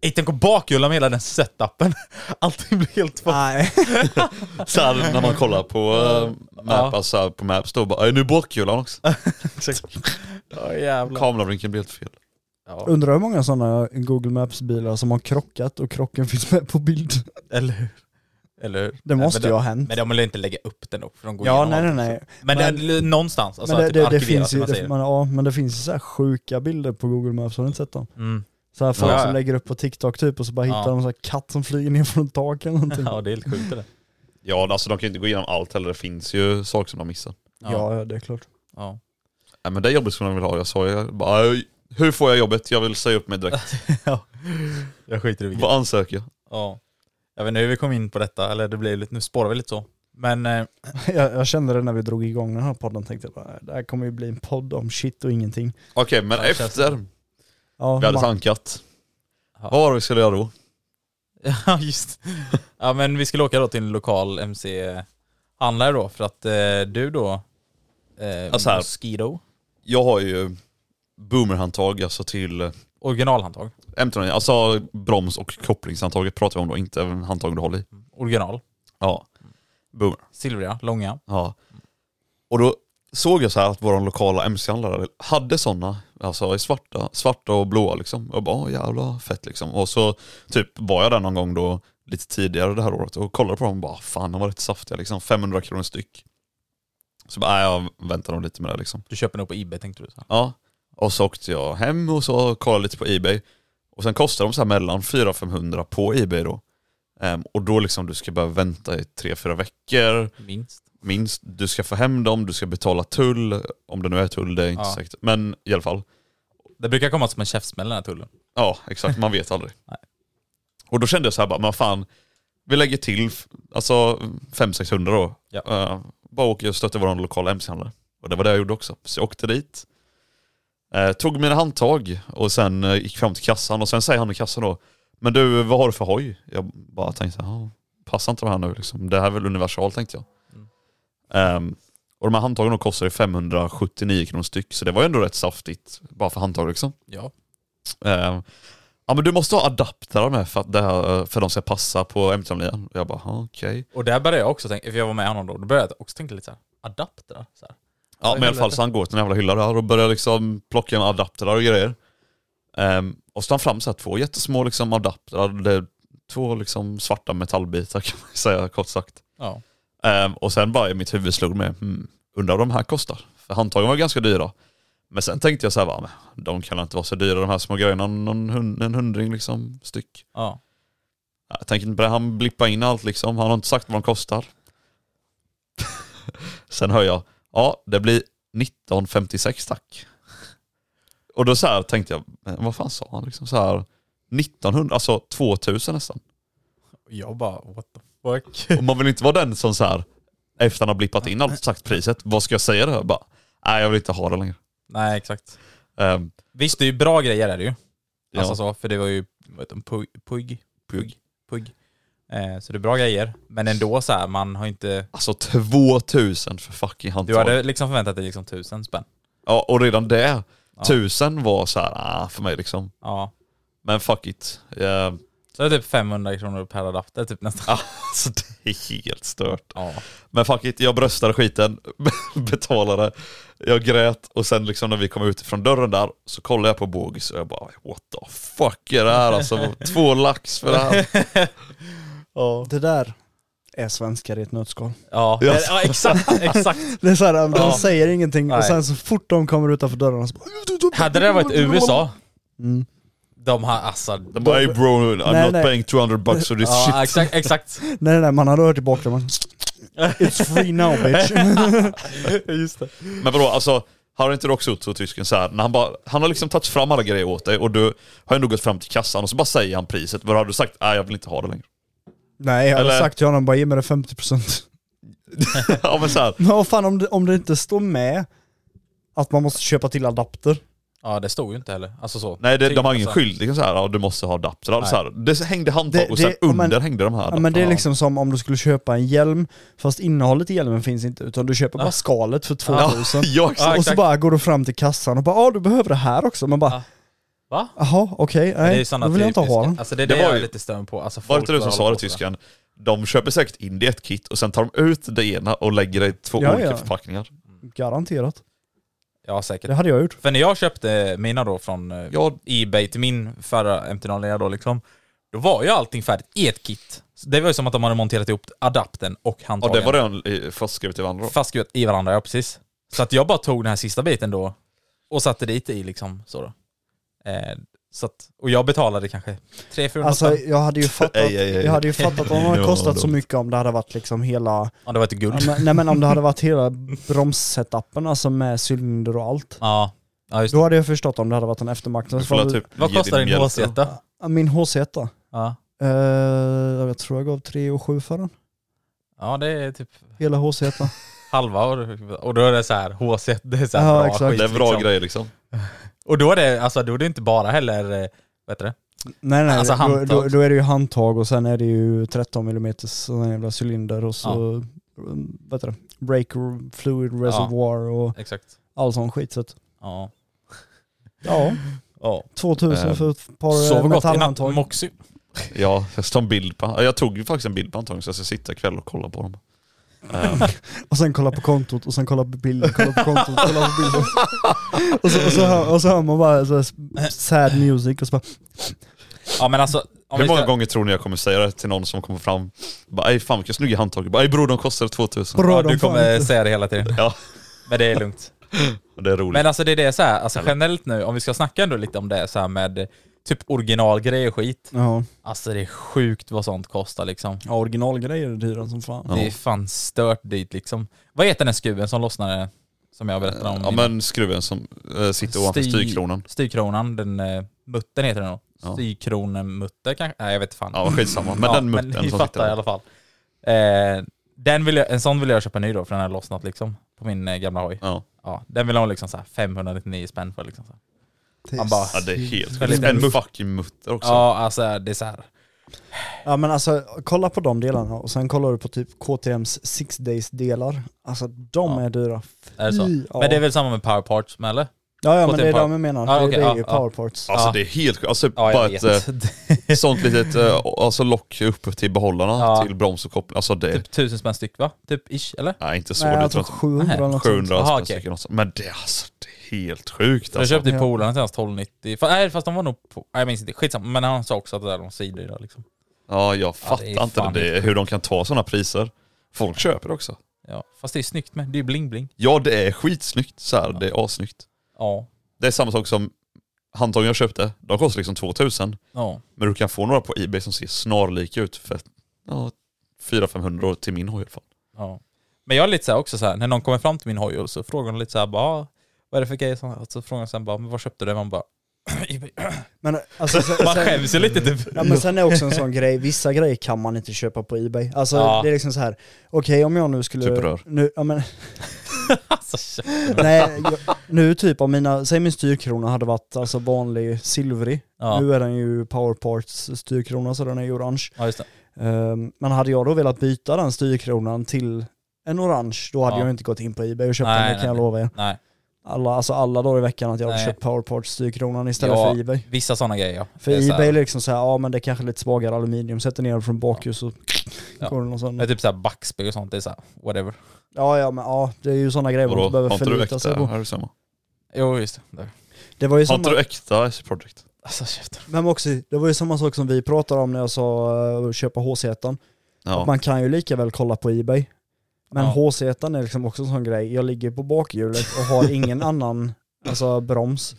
Speaker 5: Ey, tänk att bakhjula med hela den setupen. [LAUGHS] Allting blir helt fuck.
Speaker 4: [LAUGHS] Nej.
Speaker 3: Så här, när man kollar på äh, map,
Speaker 5: Ja.
Speaker 3: alltså, på maps då bara, "Ey, nu är bakhjulan också.
Speaker 5: Åh jävlar.
Speaker 3: Kameravrinken blir helt fel.
Speaker 5: Ja.
Speaker 4: Undrar hur många sådana Google Maps-bilar som har krockat och krocken finns med på bild.
Speaker 5: Eller hur? Eller hur?
Speaker 4: Det måste
Speaker 5: men
Speaker 4: ju
Speaker 5: de,
Speaker 4: ha hänt.
Speaker 5: Men de vill ju inte lägga upp den då, för de går
Speaker 4: Ja,
Speaker 5: igenom
Speaker 4: nej nej
Speaker 5: allt.
Speaker 4: nej.
Speaker 5: Men,
Speaker 4: Men-
Speaker 5: det, någonstans, alltså
Speaker 4: men det,
Speaker 5: typ
Speaker 4: det, det
Speaker 5: arkiverat
Speaker 4: finns
Speaker 5: som
Speaker 4: ju,
Speaker 5: man
Speaker 4: det,
Speaker 5: säger.
Speaker 4: men, ja, men det finns ju så här sjuka bilder på Google Maps, har du inte sett dem?
Speaker 5: Mm.
Speaker 4: Så här folk
Speaker 5: Ja.
Speaker 4: som lägger upp på TikTok typ och så bara
Speaker 5: Ja.
Speaker 4: hittar de så här katt som flyger ner från ett tak eller någonting.
Speaker 5: Ja, det är helt sjukt det där.
Speaker 3: Ja alltså de kan ju inte gå igenom allt heller, det finns ju saker som de missar.
Speaker 4: Ja, ja, det är klart.
Speaker 5: ja.
Speaker 3: Nej men det jobbet som de vill ha, jag sa ju bara, "Ey, hur får jag jobbet? Jag vill säga upp mig direkt. [LAUGHS]
Speaker 5: Ja. Jag skiter i vilket.
Speaker 3: Vad ansöker jag?
Speaker 5: Ja. Jag vet inte hur vi kom in på detta, eller det blir lite, nu spårar vi lite så. Men eh, [LAUGHS]
Speaker 4: Jag, jag kände det när vi drog igång den här podden, tänkte jag bara, "Äh, det här kommer ju bli en podd om shit och ingenting.
Speaker 3: Okej men
Speaker 5: Ja, det känns
Speaker 3: efter
Speaker 4: Ja,
Speaker 3: vi hade
Speaker 4: man-
Speaker 3: tankat,
Speaker 5: Ja.
Speaker 3: vad var det vi skulle göra då?
Speaker 5: Ja just Ja men vi skulle åka då till en lokal MC-handlare då för att eh, du då, eh,
Speaker 3: Alltså här.
Speaker 5: Mosquito,
Speaker 3: Jag har ju boomerhandtag alltså till
Speaker 5: originalhandtag,
Speaker 3: M309, alltså broms och kopplingshandtaget pratar vi om då, inte även handtaget du håller i.
Speaker 5: original,
Speaker 3: Ja. Boomer.
Speaker 5: silvriga, långa.
Speaker 3: Ja. Och då såg jag så här att våra lokala MC-handlare hade sådana, alltså i svarta, svarta och blåa liksom. Jag bara, "Åh, jävla fett liksom. Och så typ var jag där någon gång då lite tidigare det här året och kollade på dem och bara, fan de var rätt saftiga liksom, 500 kronor styck. Så bara, "Nej, jag väntar nog lite med det liksom.
Speaker 5: Du köper nog på Ebay tänkte du så.
Speaker 3: Ja. Och så åkte jag hem och så kollade lite på Ebay. Och sen kostar de så här mellan 400-500 på Ebay då. Ehm, och då liksom du ska behöva vänta i 3-4 veckor
Speaker 5: Minst.
Speaker 3: minst. Du ska få hem dem, du ska betala tull, om det nu är tull, det är inte
Speaker 5: Ja.
Speaker 3: säkert. Men i alla fall,
Speaker 5: Det brukar komma som en käftsmäll den här tullen.
Speaker 3: ja exakt, man vet aldrig.
Speaker 5: Nej.
Speaker 3: Och då kände jag så här bara, men fan, vi lägger till f- alltså 500-600 då.
Speaker 5: Ja.
Speaker 3: Eh, bara åker och stöter vår lokala MC-handlare. Och det var det jag gjorde också. Så jag åkte dit, eh, tog mina handtag och sen eh, gick fram till kassan och sen säger han i kassan då, men du vad har du för hoj? Jag bara tänkte, ja, passar inte de här nu liksom? Det här är väl universal tänkte jag.
Speaker 5: Mm.
Speaker 3: Ehm, och de här handtagen då kostade 579 kronor styck, så det var ju ändå rätt saftigt bara för handtag liksom.
Speaker 5: Ja.
Speaker 3: Ehm, ja men du måste ha adaptrar med för att, det här, eh, för att de ska passa på M309. Och jag bara, "Ja, okej.
Speaker 5: Och där började jag också tänka, för jag var med honom då, då började jag också tänka lite så här. adaptrar. Så här.
Speaker 3: Ja men i alla fall
Speaker 5: helvete.
Speaker 3: så han går till den jävla hyllan där och börjar liksom plocka med adaptrar och grejer. Ehm, och så tar han fram så här två jättesmå liksom adaptrar, det är två liksom svarta metallbitar [LAUGHS] kan man säga kort sagt.
Speaker 5: Ja.
Speaker 3: Ehm, och sen bara i mitt huvud slog mig, hmm, undrar vad de här kostar? För handtagen var ganska dyra. Men sen tänkte jag så här, va, men de kan inte vara så dyra de här små grejerna, någon hund, en hundring liksom styck.
Speaker 5: ja.
Speaker 3: Jag tänker inte på det, han blippar in allt liksom, han har inte sagt vad de kostar. [LAUGHS] Sen hör jag, ja det blir 1956 tack. Och då så här tänkte jag, men vad fan sa han liksom så här 1900, alltså 2000 nästan.
Speaker 5: Och Jag bara what the fuck.
Speaker 3: Och man vill inte vara den som så här efter han har blippat in allt och sagt priset, vad ska jag säga då? Jag bara, nej jag vill inte ha det längre.
Speaker 5: [LAUGHS] nej exakt.
Speaker 3: Ehm,
Speaker 5: Visst Alltså det är ju bra grejer är det ju.
Speaker 3: ja.
Speaker 5: Alltså så, för det var ju, vad heter de, Puig? Puig?
Speaker 3: Puig.
Speaker 5: pugg. Eh, så det är bra grejer. Men ändå så här, man har inte...
Speaker 3: Alltså 2000 för fucking handtag.
Speaker 5: Du hade liksom förväntat dig liksom tusen spänn.
Speaker 3: Ja, och redan det,
Speaker 5: Ja.
Speaker 3: 1000 var så här, ah, för mig liksom.
Speaker 5: Ja.
Speaker 3: Men fuck it. Eh,
Speaker 5: Så det är typ 500 kronor per adapter typ nästan.
Speaker 3: [LAUGHS] alltså det är helt stört.
Speaker 5: Ja.
Speaker 3: Men fuck it, jag bröstade skiten, [LAUGHS] betalade, jag grät och sen liksom när vi kom ut från dörren där så kollade jag på Bogis och jag bara what the fuck är det här alltså? Två lax för det här.
Speaker 4: Ja. Det där är svenskar i ett nötskal. [LAUGHS]
Speaker 5: Ja,
Speaker 3: Ja.
Speaker 5: ja exakt, exakt.
Speaker 4: Det är så här, de
Speaker 5: Ja.
Speaker 4: säger ingenting
Speaker 5: Nej.
Speaker 4: och sen så fort de kommer utanför dörrarna så bara,
Speaker 5: Hade det varit USA,
Speaker 4: Mm.
Speaker 5: de har alltså...
Speaker 3: De bara hey bro, I'm
Speaker 4: Nej,
Speaker 3: not
Speaker 4: nej.
Speaker 3: paying 200 bucks for this shit.
Speaker 5: Ja, exakt, exakt.
Speaker 4: Nej nej, man hade hört i bakgrunden. It's free now bitch.
Speaker 5: Just det.
Speaker 3: Men vadå, alltså har inte du också gjort så tysken så här, när han bara, han har liksom tagit fram alla grejer åt dig och du har ändå gått fram till kassan och så bara säger han priset, vad har du sagt? Nej jag vill inte ha det längre.
Speaker 4: Nej jag hade
Speaker 3: Eller-
Speaker 4: sagt till honom bara ge mig det 50%.
Speaker 3: [LAUGHS] ja men så här,
Speaker 4: Men vad [LAUGHS] fan om det, om det inte står med att man måste köpa till adapter.
Speaker 5: Ja, det stod ju inte heller. Alltså så.
Speaker 3: nej det, de har ingen
Speaker 5: Alltså.
Speaker 3: skyldig liksom så här, ja, du måste ha adapter.
Speaker 5: Nej.
Speaker 3: Så här, det hängde handtag
Speaker 4: Det-
Speaker 3: och sen
Speaker 4: det- ja, men-
Speaker 3: under hängde de här
Speaker 4: Ja, men det är
Speaker 3: adapterna.
Speaker 4: liksom som om du skulle köpa en hjälm, fast innehållet i hjälmen finns inte, utan du köper bara skalet för 2000.
Speaker 3: [LAUGHS] Ja, exakt.
Speaker 5: Ja,
Speaker 4: och så
Speaker 5: exakt.
Speaker 4: bara går du fram till kassan och bara ah du behöver det här också. Man bara
Speaker 5: Ja. Va?
Speaker 4: jaha okej,
Speaker 5: Men
Speaker 4: nej då vill jag inte ha den.
Speaker 5: Alltså det är
Speaker 3: Det
Speaker 5: det,
Speaker 3: var
Speaker 5: jag
Speaker 3: ju-
Speaker 5: är lite störd på. Alltså,
Speaker 3: Var det
Speaker 5: folk
Speaker 3: inte du som
Speaker 5: bara
Speaker 3: sa
Speaker 5: håller
Speaker 3: det
Speaker 5: på sådär.
Speaker 3: tysken? De köper säkert in det i ett kit och sen tar de ut det ena och lägger det i två
Speaker 4: Ja,
Speaker 3: olika
Speaker 4: ja.
Speaker 3: förpackningar.
Speaker 4: Garanterat.
Speaker 5: Ja,
Speaker 4: Det
Speaker 5: säkert.
Speaker 4: hade jag gjort.
Speaker 5: För när jag köpte mina då från eh,
Speaker 3: Ja,
Speaker 5: Ebay till min förra MT-0 då liksom, då var ju allting färdigt i ett kit. Så det var ju som att de hade monterat ihop adaptern och
Speaker 3: ja
Speaker 5: handtagen.
Speaker 3: det var redan eh, fastskrivet i varandra.
Speaker 5: Fastskruvat i varandra, ja precis. Så att jag bara tog den här sista biten då och satte dit i liksom så då. Eh, så att, och jag betalade kanske 300-400
Speaker 4: Alltså
Speaker 5: spänn.
Speaker 4: jag hade ju fattat,
Speaker 3: Ej, ej, ej.
Speaker 4: jag hade ju fattat om det
Speaker 3: [LAUGHS]
Speaker 4: hade
Speaker 3: Ja,
Speaker 4: kostat
Speaker 3: då.
Speaker 4: så mycket om det hade varit liksom hela,
Speaker 5: Ja, det var inte
Speaker 4: ja,
Speaker 5: guld.
Speaker 4: men- nej men om det hade varit hela bromssetupen alltså med cylinder och allt.
Speaker 5: Ja, ja just det.
Speaker 4: Då hade jag förstått om det hade varit en eftermarknad.
Speaker 3: Du får la
Speaker 4: För-
Speaker 3: typ
Speaker 5: Vad
Speaker 3: ge
Speaker 5: kostar din
Speaker 3: mjölk då.
Speaker 5: HZ?
Speaker 4: Ja, Min HZ då?
Speaker 5: Ja.
Speaker 4: Eh, jag tror jag gav 3 och 7 för den.
Speaker 5: ja, det är typ
Speaker 4: Hela HZ. -an.
Speaker 5: halva och, och då är det så här HZ, det är så här
Speaker 4: Ja,
Speaker 5: bra
Speaker 4: exakt.
Speaker 5: skit.
Speaker 3: Det är bra
Speaker 5: liksom.
Speaker 3: grejer liksom.
Speaker 5: Och då är det, alltså då är det inte bara heller, eh, vad heter det?
Speaker 4: nej nej,
Speaker 5: Alltså,
Speaker 4: då,
Speaker 5: handtag.
Speaker 4: då, då är det ju handtag och sen är det ju 13 mm sån jävla cylinder och så, mm, vad heter det, brake r- fluid reservoir och
Speaker 5: Exakt.
Speaker 4: all sån skit. Så att,
Speaker 5: Ja.
Speaker 4: ja,
Speaker 5: Ja.
Speaker 4: 2000
Speaker 3: Eh,
Speaker 4: för ett par
Speaker 5: Sov
Speaker 4: eh,
Speaker 5: gott i natt,
Speaker 4: metallhandtag.
Speaker 5: Moxie.
Speaker 3: Ja, jag tar en bild på Jag tog ju faktiskt en bild på antagligen så jag ska sitta ikväll och kolla på dem. Eh,
Speaker 4: Och sen kolla på kontot och sen kolla på bilden, kolla på kontot, kolla på bilden. och, så, och, så hör, och så hör man bara så här, sad music och så bara,
Speaker 5: Ja men alltså, om
Speaker 3: Hur
Speaker 5: vi
Speaker 3: många
Speaker 5: ska-
Speaker 3: gånger tror ni jag kommer säga det till någon som kommer fram? Bara ej fan vilka snygga handtag. Bara ej bror de kostar 2000.
Speaker 4: Bra.
Speaker 5: ja,
Speaker 4: de
Speaker 5: du
Speaker 4: fan
Speaker 5: kommer
Speaker 4: inte.
Speaker 5: säga det hela tiden.
Speaker 3: Ja,
Speaker 5: Men det är lugnt.
Speaker 3: det är roligt.
Speaker 5: Men alltså det är det så här, alltså generellt nu, om vi ska snacka ändå lite om det så här med eh, typ originalgrejer och skit.
Speaker 4: ja.
Speaker 5: Alltså det är sjukt vad sånt kostar liksom.
Speaker 4: ja originalgrejer är dyra som fan.
Speaker 5: Det är fan stört dit liksom. Vad heter den skruven som lossnade? Som jag berättade om.
Speaker 3: Ja
Speaker 5: innan?
Speaker 3: men skruven som eh, sitter ovanför
Speaker 5: Styr-
Speaker 3: styrkronan.
Speaker 5: Styrkronan, den eh, muttern heter den nog.
Speaker 3: Ja.
Speaker 5: Styrkronemutter kanske? Nej jag vet fan.
Speaker 3: Ja skitsamma. Men
Speaker 5: [LAUGHS] Ja,
Speaker 3: den muttern
Speaker 5: men ni
Speaker 3: som
Speaker 5: fattar
Speaker 3: sitter
Speaker 5: i alla fall. Eh, den vill jag, en sån vill jag köpa ny då, för den har lossnat liksom. På min eh, gamla hoj.
Speaker 3: Ja.
Speaker 5: Ja, den vill jag ha liksom så här 599 spänn för liksom. Så här. Han bara-
Speaker 3: ja det är helt
Speaker 5: Väldigt
Speaker 3: sjukt. En
Speaker 5: muff.
Speaker 3: fucking mutter också.
Speaker 5: Ja, alltså det är så här.
Speaker 4: Ja men alltså kolla på de delarna och sen kollar du på typ KTMs Six Days delar. Alltså de
Speaker 5: Ja.
Speaker 4: är dyra.
Speaker 5: Är det så?
Speaker 4: Fy, ja.
Speaker 5: Men det är väl samma med power parts med eller?
Speaker 4: Ja, ja men
Speaker 5: KTM
Speaker 4: det är
Speaker 5: Power-
Speaker 4: de jag menar.
Speaker 5: Ja,
Speaker 4: det,
Speaker 5: okej,
Speaker 4: det är
Speaker 5: ja,
Speaker 4: ju
Speaker 5: ja.
Speaker 4: powerparts.
Speaker 3: Alltså
Speaker 5: Ja.
Speaker 3: det är helt sjukt. Alltså
Speaker 5: Ja,
Speaker 3: bara
Speaker 5: jag
Speaker 3: ett
Speaker 5: vet.
Speaker 3: eh, sånt litet eh, alltså lock upp till behållarna
Speaker 5: Ja.
Speaker 3: till broms och koppling. Alltså det,
Speaker 5: typ [LAUGHS] tusen spänn styck va? Typ ish, eller?
Speaker 3: nej inte så.
Speaker 4: Nej
Speaker 3: det
Speaker 4: jag
Speaker 3: tror
Speaker 4: tror
Speaker 3: jag
Speaker 4: 700 eller
Speaker 3: inte.
Speaker 4: något sånt.
Speaker 3: 700
Speaker 5: Aha,
Speaker 3: spänn styck eller något sånt. Men det, är alltså, det är helt sjukt
Speaker 5: För jag
Speaker 3: alltså.
Speaker 5: köpte ju
Speaker 4: Ja.
Speaker 5: polarna till hans 1290. Fa- nej fast de var nog på, nej, jag minns inte, skitsamma. Men han sa också att det där var sidor liksom.
Speaker 3: Ja jag
Speaker 5: Ja,
Speaker 3: fattar
Speaker 5: det är
Speaker 3: inte
Speaker 5: fan
Speaker 3: det,
Speaker 5: helt
Speaker 3: hur de kan ta sådana priser. Folk köper det också.
Speaker 5: Ja, fast det är snyggt med. Det är ju bling bling.
Speaker 3: Ja det är skitsnyggt så här.
Speaker 5: Ja.
Speaker 3: det är assnyggt.
Speaker 5: Ja.
Speaker 3: Det är samma sak som handtagen jag köpte, de kostar liksom 2000.
Speaker 5: Ja.
Speaker 3: Men du kan få några på Ebay som ser snarlika ut för ja, 400-500 år till min hoj i alla fall.
Speaker 5: Ja. Men jag är lite så här också så här, när någon kommer fram till min hoj och så frågar de lite så här bara, "Ah, vad är det för grejer? som-" Och så frågar de sen bara, men vad köpte du? Man bara, [CLEARS THROAT]
Speaker 4: Men, alltså, sen,
Speaker 5: man
Speaker 4: sen,
Speaker 5: skäms ju lite typ.
Speaker 4: ja, men sen är också en sån grej, vissa grejer kan man inte köpa på Ebay. Alltså
Speaker 5: Ja.
Speaker 4: det är liksom så här. okej om jag nu skulle...
Speaker 3: Typ rör.
Speaker 4: Nu, ja, men, Nej, jag, nu typ av mina, säg min styrkrona hade varit alltså vanlig silvrig.
Speaker 5: Ja.
Speaker 4: Nu är den ju powerparts styrkrona så den är ju orange.
Speaker 5: [LAUGHS] Ja, just det.
Speaker 4: Ehm, men hade jag då velat byta den styrkronan till en orange, då hade
Speaker 5: Ja.
Speaker 4: jag inte gått in på Ebay och köpt
Speaker 5: Nej,
Speaker 4: den, det
Speaker 5: nej,
Speaker 4: kan jag
Speaker 5: nej.
Speaker 4: lova er.
Speaker 5: Nej,
Speaker 4: Alla, alltså alla dagar i veckan att jag hade
Speaker 5: Nej.
Speaker 4: köpt powerparts styrkronan istället
Speaker 5: Ja.
Speaker 4: för Ebay.
Speaker 5: vissa sådana grejer ja.
Speaker 4: För
Speaker 5: Det är så här-
Speaker 4: Ebay är liksom såhär, ja men det är kanske lite svagare aluminium, sätter ner den från bakhus och
Speaker 5: Ja.
Speaker 4: går den och sån.
Speaker 5: Men typ såhär backspegel och sånt, det är såhär whatever.
Speaker 4: Ja ja men ja, det är ju sådana grejer man
Speaker 3: Vadå,
Speaker 4: inte
Speaker 3: har
Speaker 4: behöver
Speaker 3: inte du
Speaker 4: förlita sig
Speaker 3: äkta?
Speaker 4: på.
Speaker 3: Här är det samma.
Speaker 5: Jo just det. Där.
Speaker 4: Det var ju
Speaker 3: Har inte
Speaker 4: samma,
Speaker 3: du äkta IC Project?
Speaker 5: Alltså käften.
Speaker 4: men också, det var ju samma sak som vi pratade om när jag sa eh, att köpa hz
Speaker 3: Ja.
Speaker 4: Man kan ju lika väl kolla på Ebay. Men
Speaker 5: Ja.
Speaker 4: hz är liksom också en sån grej, jag ligger på bakhjulet och
Speaker 5: [LAUGHS]
Speaker 4: har ingen annan alltså, broms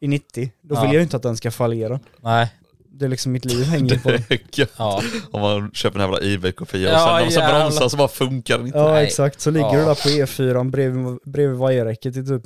Speaker 4: i 90. Då vill
Speaker 5: Ja.
Speaker 4: jag ju inte att den ska fallera.
Speaker 5: Nej.
Speaker 4: Det är liksom mitt liv hänger på det.
Speaker 3: Det är [LAUGHS] gött.
Speaker 5: Ja.
Speaker 3: Om man köper en jävla Ebay-kopia och
Speaker 5: Ja,
Speaker 3: sen när man ska
Speaker 5: jävlar.
Speaker 3: bromsa så bara funkar den inte.
Speaker 4: Ja
Speaker 5: Nej.
Speaker 4: exakt, så ligger
Speaker 5: Ja.
Speaker 4: du där på E4 bredvid, bredvid vajerräcket i typ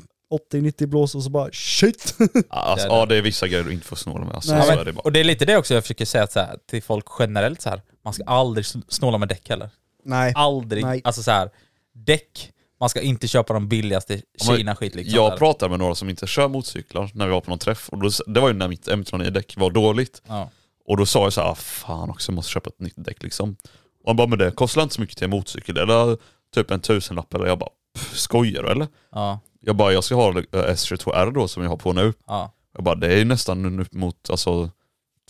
Speaker 4: 80-90 blås och så bara shit. [LAUGHS]
Speaker 3: Alltså,
Speaker 5: Det är det.
Speaker 3: ja det är vissa grejer du inte får snåla med. Alltså,
Speaker 4: Nej.
Speaker 3: så
Speaker 5: Ja,
Speaker 3: är det
Speaker 5: men,
Speaker 3: bara.
Speaker 5: och det är lite det också jag försöker säga så här, till folk generellt så här. man ska aldrig sn- snåla med däck heller.
Speaker 4: Nej.
Speaker 5: Aldrig.
Speaker 4: Nej.
Speaker 5: Alltså så här, däck, man ska inte köpa de billigaste
Speaker 3: men
Speaker 5: Kina-skit liksom.
Speaker 3: jag
Speaker 5: där.
Speaker 3: pratade med några som inte kör motorcyklar när vi var på någon träff och då, det var ju när mitt M39-däck var dåligt.
Speaker 5: Ja.
Speaker 3: Och då sa jag så här, "Ah, fan också jag måste köpa ett nytt däck liksom. Och han bara, men det kostar inte så mycket till en motorcykel, eller typ en tusenlapp eller jag bara, "Pff, skojar du eller?
Speaker 5: Ja.
Speaker 3: Jag bara, jag ska ha eh, S22R då som jag har på nu.
Speaker 5: Ja.
Speaker 3: Jag bara, det är ju nästan upp mot alltså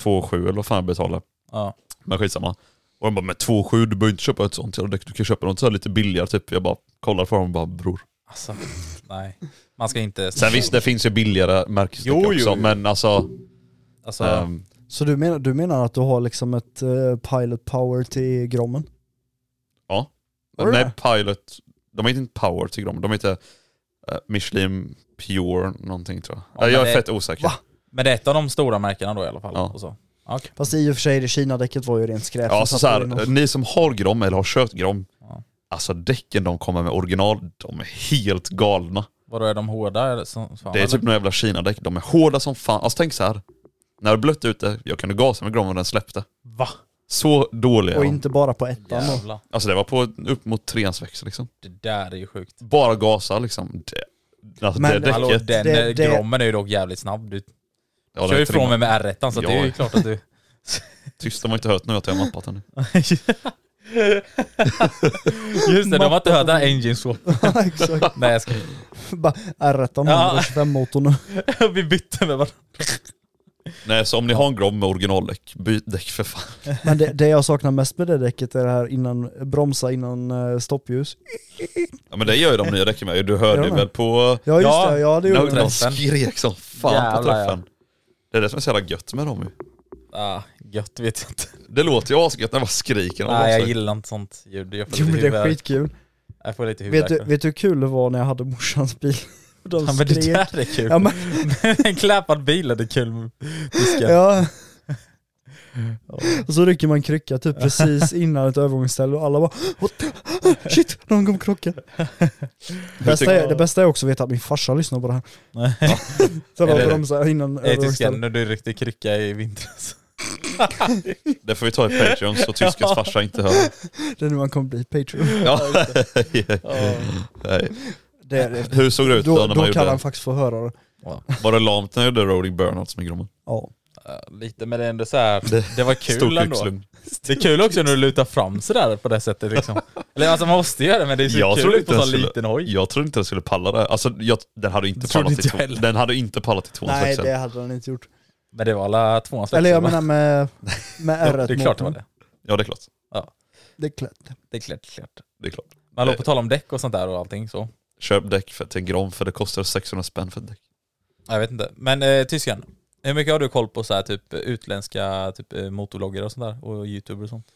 Speaker 3: 2,7 eller vad fan jag betalar.
Speaker 5: Ja.
Speaker 3: Men skitsamma. Och han bara, men 2,7 du behöver inte köpa ett sånt jävla däck, du kan köpa något så här lite billigare typ. Jag bara kollar på honom och bara, bror.
Speaker 5: Alltså, nej. Man ska inte...
Speaker 3: Sen visst, det finns ju billigare märkesdäck
Speaker 5: Jo, jo,
Speaker 3: också,
Speaker 5: jo.
Speaker 3: men alltså...
Speaker 5: Alltså,
Speaker 3: ehm,
Speaker 4: Så du menar, du menar att du har liksom ett eh, pilot power till Grommen? Var det
Speaker 3: nej, Pilot, de heter inte Power tycker de, de heter eh, Michelin Pure någonting tror jag.
Speaker 5: Ja,
Speaker 3: Eh, jag
Speaker 5: men
Speaker 3: är
Speaker 5: det-
Speaker 3: fett osäker.
Speaker 5: men det är ett av de stora märkena då i alla fall.
Speaker 3: Ja.
Speaker 5: Och så. Okej.
Speaker 4: Fast i och för sig, det Kina-däcket var ju rent skräp.
Speaker 3: Ja,
Speaker 4: som
Speaker 3: alltså,
Speaker 4: satt
Speaker 3: så här,
Speaker 4: där inne.
Speaker 3: eh, ni som har Grom eller har kört Grom,
Speaker 5: Ja.
Speaker 3: alltså däcken de kommer med original, de är helt galna.
Speaker 5: Vadå, är de hårda eller så, Alltså, fan,
Speaker 3: Det är
Speaker 5: eller?
Speaker 3: typ några jävla Kina-däck, de är hårda som fan. Alltså tänk så här. när det är blött ute, jag kunde gasa med Grom och den släppte.
Speaker 5: Va?
Speaker 3: Så dåliga är
Speaker 4: Och
Speaker 3: de.
Speaker 4: inte bara på ettan då.
Speaker 5: Jävlar.
Speaker 3: Alltså det var på upp mot treans växel liksom.
Speaker 5: Det där är ju sjukt.
Speaker 3: Bara gasa liksom. Det, alltså
Speaker 4: Men-
Speaker 3: det däcket.
Speaker 5: Hallå, den
Speaker 4: Det-
Speaker 5: det,
Speaker 4: det-
Speaker 5: Grommen är ju dock jävligt snabb. Du
Speaker 3: Ja, den
Speaker 5: kör ju
Speaker 3: är
Speaker 5: ifrån
Speaker 3: trimmad.
Speaker 5: mig med R1 så
Speaker 3: Ja.
Speaker 5: det är ju
Speaker 3: [LAUGHS]
Speaker 5: klart att du...
Speaker 3: Tyst, de har inte hört nu att jag har mappat den.
Speaker 5: Just det, de har inte hört den här engine swap.
Speaker 4: Ja, exakt.
Speaker 5: Nej jag ska
Speaker 4: Bara R1
Speaker 5: Ja.
Speaker 4: 125 motorn nu.
Speaker 5: [LAUGHS] Vi bytte med varandra.
Speaker 3: Nej, så om ni har en Grom med originaldäck, byt däck för fan.
Speaker 4: Men det, det jag saknar mest med det däcket är det här innan, bromsa innan eh, stoppljus.
Speaker 3: Ja men det gör ju de nya däcken med. Du hörde ju
Speaker 4: Ja.
Speaker 3: väl på...
Speaker 4: Ja just
Speaker 5: Ja,
Speaker 4: det, ja det gjorde
Speaker 3: När
Speaker 4: det.
Speaker 3: de skrek som fan på
Speaker 5: Jävlar, ja.
Speaker 3: träffen. Det är det som är så jävla gött med dem ju.
Speaker 5: Ah, gött vet jag inte.
Speaker 3: Det låter ju asgött när man skriker. om
Speaker 5: Nej
Speaker 3: dem,
Speaker 5: jag
Speaker 3: så.
Speaker 5: gillar inte sånt ljud. Jag får
Speaker 4: Jo men
Speaker 5: lite
Speaker 4: det är
Speaker 5: huvudvärk.
Speaker 4: skitkul.
Speaker 5: Jag får lite
Speaker 4: Vet
Speaker 5: huvudvärk.
Speaker 4: du, vet du hur kul det var när jag hade morsans bil? [LAUGHS] De
Speaker 5: Ja, men det
Speaker 4: skrek.
Speaker 5: där är kul.
Speaker 4: Ja, men,
Speaker 5: [LAUGHS] en kläpad bil är det kul med disken. [LAUGHS]
Speaker 4: ja. Och så rycker man krycka typ
Speaker 5: [LAUGHS]
Speaker 4: precis innan ett övergångsställe och alla bara "What? [LAUGHS] Shit, någon kommer krocka. Det bästa, är, det bästa är också att veta att min farsa lyssnar på det här. [LAUGHS] Så
Speaker 5: Är
Speaker 4: de
Speaker 5: det-
Speaker 4: bromsar innan
Speaker 5: Jag är tysken
Speaker 4: övergångsstället.
Speaker 5: när du ryckte krycka i vintras.
Speaker 3: Det får vi ta i Patreon så
Speaker 4: [LAUGHS]
Speaker 3: tyskens farsa inte hör.
Speaker 4: Det är nu man kommer bli Patreon.
Speaker 3: Ja. [LAUGHS] Nej.
Speaker 4: Det är det.
Speaker 3: Hur såg det ut då,
Speaker 4: Då,
Speaker 3: när
Speaker 4: då
Speaker 3: man gjorde
Speaker 4: kan han
Speaker 3: det?
Speaker 4: faktiskt få höra det.
Speaker 3: Var det lamt när jag gjorde Rolling Burnouts med Grommen?
Speaker 4: Ja.
Speaker 5: Ja, Lite men det är ändå så här. det var kul
Speaker 3: Stor
Speaker 5: ändå.
Speaker 3: kuckslung.
Speaker 5: Det är kul också när du lutar fram sådär på det sättet liksom. Eller alltså man måste göra det men det är så
Speaker 3: Jag
Speaker 5: kul
Speaker 3: trodde,
Speaker 5: ut
Speaker 3: inte
Speaker 5: på en
Speaker 3: den
Speaker 5: sån
Speaker 3: skulle,
Speaker 5: liten hoj.
Speaker 3: jag trodde inte den skulle palla det. Alltså, jag, den, hade inte
Speaker 5: Det trodde
Speaker 3: pallat i
Speaker 5: inte
Speaker 3: två,
Speaker 5: jag heller.
Speaker 3: den hade inte pallat i tvåans
Speaker 4: Nej
Speaker 3: växel.
Speaker 4: det hade han inte gjort.
Speaker 5: Men det var alla tvåans
Speaker 4: Eller jag
Speaker 5: växel, va?
Speaker 4: menar med,
Speaker 5: [LAUGHS]
Speaker 4: med
Speaker 5: Ja,
Speaker 4: R1
Speaker 5: Det är klart det var det.
Speaker 3: Ja det är klart.
Speaker 4: Det är klart.
Speaker 5: Det är klart, klart.
Speaker 3: Det är klart.
Speaker 5: Men hallå, på tal om däck och sånt där och allting så.
Speaker 3: Köp däck för, till en Grom för det kostar 600 spänn för ett däck.
Speaker 5: Jag vet inte. Men eh, tysken, hur mycket har du koll på så här, typ utländska typ, eh, motorloggare och sånt där? Och youtuber och sånt?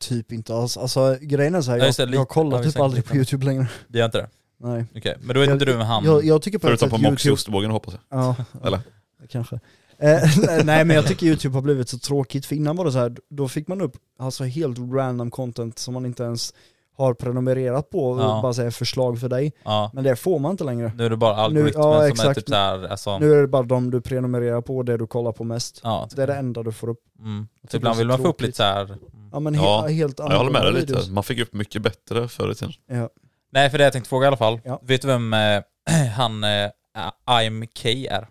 Speaker 4: Typ inte alls. Alltså grejen är såhär,
Speaker 5: Ja, just det,
Speaker 4: jag,
Speaker 5: lite
Speaker 4: jag kollar
Speaker 5: har vi
Speaker 4: typ
Speaker 5: sagt
Speaker 4: aldrig
Speaker 5: lite
Speaker 4: på
Speaker 5: om.
Speaker 4: youtube längre.
Speaker 5: Det gör inte det?
Speaker 4: Nej.
Speaker 5: Okej, men då är inte du med han?
Speaker 4: Jag, jag tycker på
Speaker 3: Förutom
Speaker 4: ett
Speaker 3: på
Speaker 4: sätt
Speaker 3: Moxie
Speaker 4: YouTube,
Speaker 3: ostbågen hoppas jag.
Speaker 4: Ja,
Speaker 3: Eller?
Speaker 4: ja, [LAUGHS] kanske. Eh, [LAUGHS] nej men jag tycker youtube har blivit så tråkigt, för innan var det så här, då fick man upp alltså helt random content som man inte ens har prenumererat på och
Speaker 5: Ja.
Speaker 4: bara säger förslag för dig.
Speaker 5: Ja.
Speaker 4: Men det får man inte längre.
Speaker 5: Nu är det bara algoritmen
Speaker 4: ja,
Speaker 5: som är
Speaker 4: exakt.
Speaker 5: typ så här, alltså,
Speaker 4: Nu är det bara de du prenumererar på och det du kollar på mest.
Speaker 5: ja, typ,
Speaker 4: Det är det enda du får upp.
Speaker 5: mm. så
Speaker 4: det
Speaker 5: ibland
Speaker 4: blir
Speaker 5: vill
Speaker 4: så
Speaker 5: man få upp
Speaker 4: tråkigt.
Speaker 5: lite så här. mm.
Speaker 4: Ja men he-
Speaker 3: Ja,
Speaker 4: helt
Speaker 3: Ja, jag håller med dig
Speaker 4: annorlunda videos.
Speaker 3: lite. Man fick upp mycket bättre förr i tiden.
Speaker 4: Ja.
Speaker 5: Nej, för det jag tänkte fråga i alla fall.
Speaker 4: Ja.
Speaker 5: Vet du vem eh, [CLEARS THROAT] han eh, I'm K är?
Speaker 4: Mm.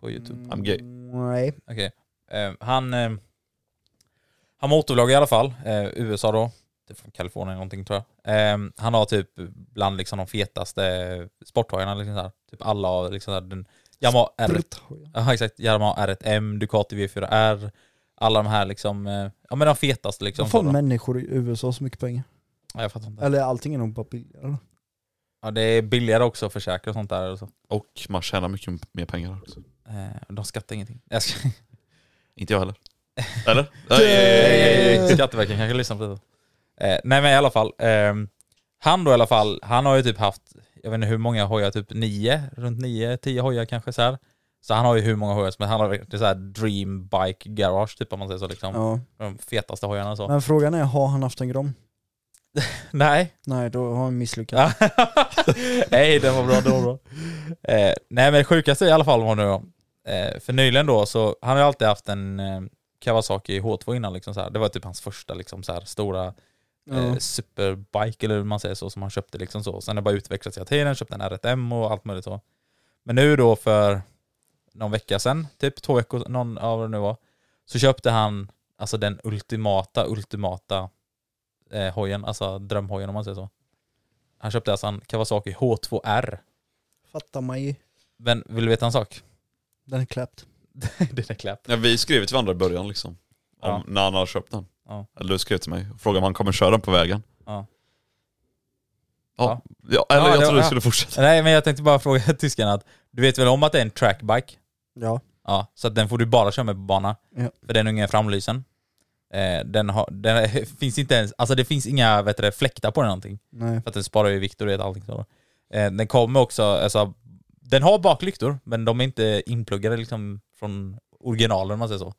Speaker 5: På YouTube.
Speaker 3: I'm gay.
Speaker 4: Nej.
Speaker 5: Okej. Eh, han eh, han motorvloggar i alla fall, eh, USA då. Det är från Kalifornien någonting tror jag. Eh, han har typ bland liksom de fetaste sporthojarna. Liksom så här. typ alla har liksom så här, den Yamaha R1. Ja exakt, Yamaha R1M, Ducati V4R. Alla de här liksom, eh, ja men de fetaste liksom.
Speaker 4: Vad får
Speaker 5: så då.
Speaker 4: människor i USA så mycket pengar?
Speaker 5: ja, jag fattar inte.
Speaker 4: Eller allting är nog bara billigare. eller?
Speaker 5: Ja, det är billigare också att försäkra och sånt där. Och så.
Speaker 3: Och man tjänar mycket mer pengar också.
Speaker 5: eh, de skattar ingenting. Jag
Speaker 4: [LAUGHS]
Speaker 5: ska...
Speaker 3: Inte jag heller. Eller? Nej, nej, nej, nej.
Speaker 5: Skatteverket kanske lyssnar på det. Eh, nej men i alla fall. ehm, han då i alla fall, han har ju typ haft, jag vet inte hur många hojar, typ nio, runt nio, tio hojar kanske så här. Så han har ju hur många hojar som helst. Han har det är så här dream bike garage typ om man säger så liksom.
Speaker 4: Ja.
Speaker 5: De fetaste hojarna och så.
Speaker 4: Men frågan är, har han haft en grom?
Speaker 5: Nej.
Speaker 4: Nej, då har han misslyckats.
Speaker 5: Ja. [LAUGHS] nej, den var bra, den var bra. Eh, nej men det sjukaste i alla fall var nu då, eh, för nyligen då så, han har ju alltid haft en eh, Kawasaki H2 innan liksom så här. Det var typ hans första liksom så här stora eh,
Speaker 4: Ja.
Speaker 5: superbike eller hur man säger så, som han köpte liksom så. Sen har det bara utvecklats hela tiden, köpte en R1M och allt möjligt så. Men nu då för någon vecka sedan, typ två veckor, någon av vad det nu var, så köpte han alltså den ultimata, ultimata eh, hojen, alltså drömhojen om man säger så. Han köpte alltså en Kawasaki H2R.
Speaker 4: Fattar man ju.
Speaker 5: Men vill du veta en sak?
Speaker 4: Den är kläppt.
Speaker 5: Den är kläpp.
Speaker 3: Ja, vi skrev till varandra i början liksom. Om,
Speaker 5: Ja.
Speaker 3: När han hade köpt den.
Speaker 5: Ja.
Speaker 3: Eller du skrev till mig och frågade om han kommer köra den på vägen.
Speaker 5: Ja.
Speaker 3: Ja, ja. eller
Speaker 5: Ja,
Speaker 3: jag
Speaker 5: det-
Speaker 3: trodde du
Speaker 5: ja.
Speaker 3: skulle fortsätta.
Speaker 5: Nej men jag tänkte bara fråga [LAUGHS] tysken att du vet väl om att det är en trackbike?
Speaker 4: Ja.
Speaker 5: Ja, så att den får du bara köra med på bana.
Speaker 4: Ja.
Speaker 5: För den har ingen framlysen. Eh, den har, den [LAUGHS] är, finns inte ens, alltså det finns inga vet du, det, fläktar på den eller någonting.
Speaker 4: Nej.
Speaker 5: För att den sparar ju vikt och det är allting så. Eh, den kommer också, alltså, den har baklyktor men de är inte inpluggade liksom från originalen om man säger så.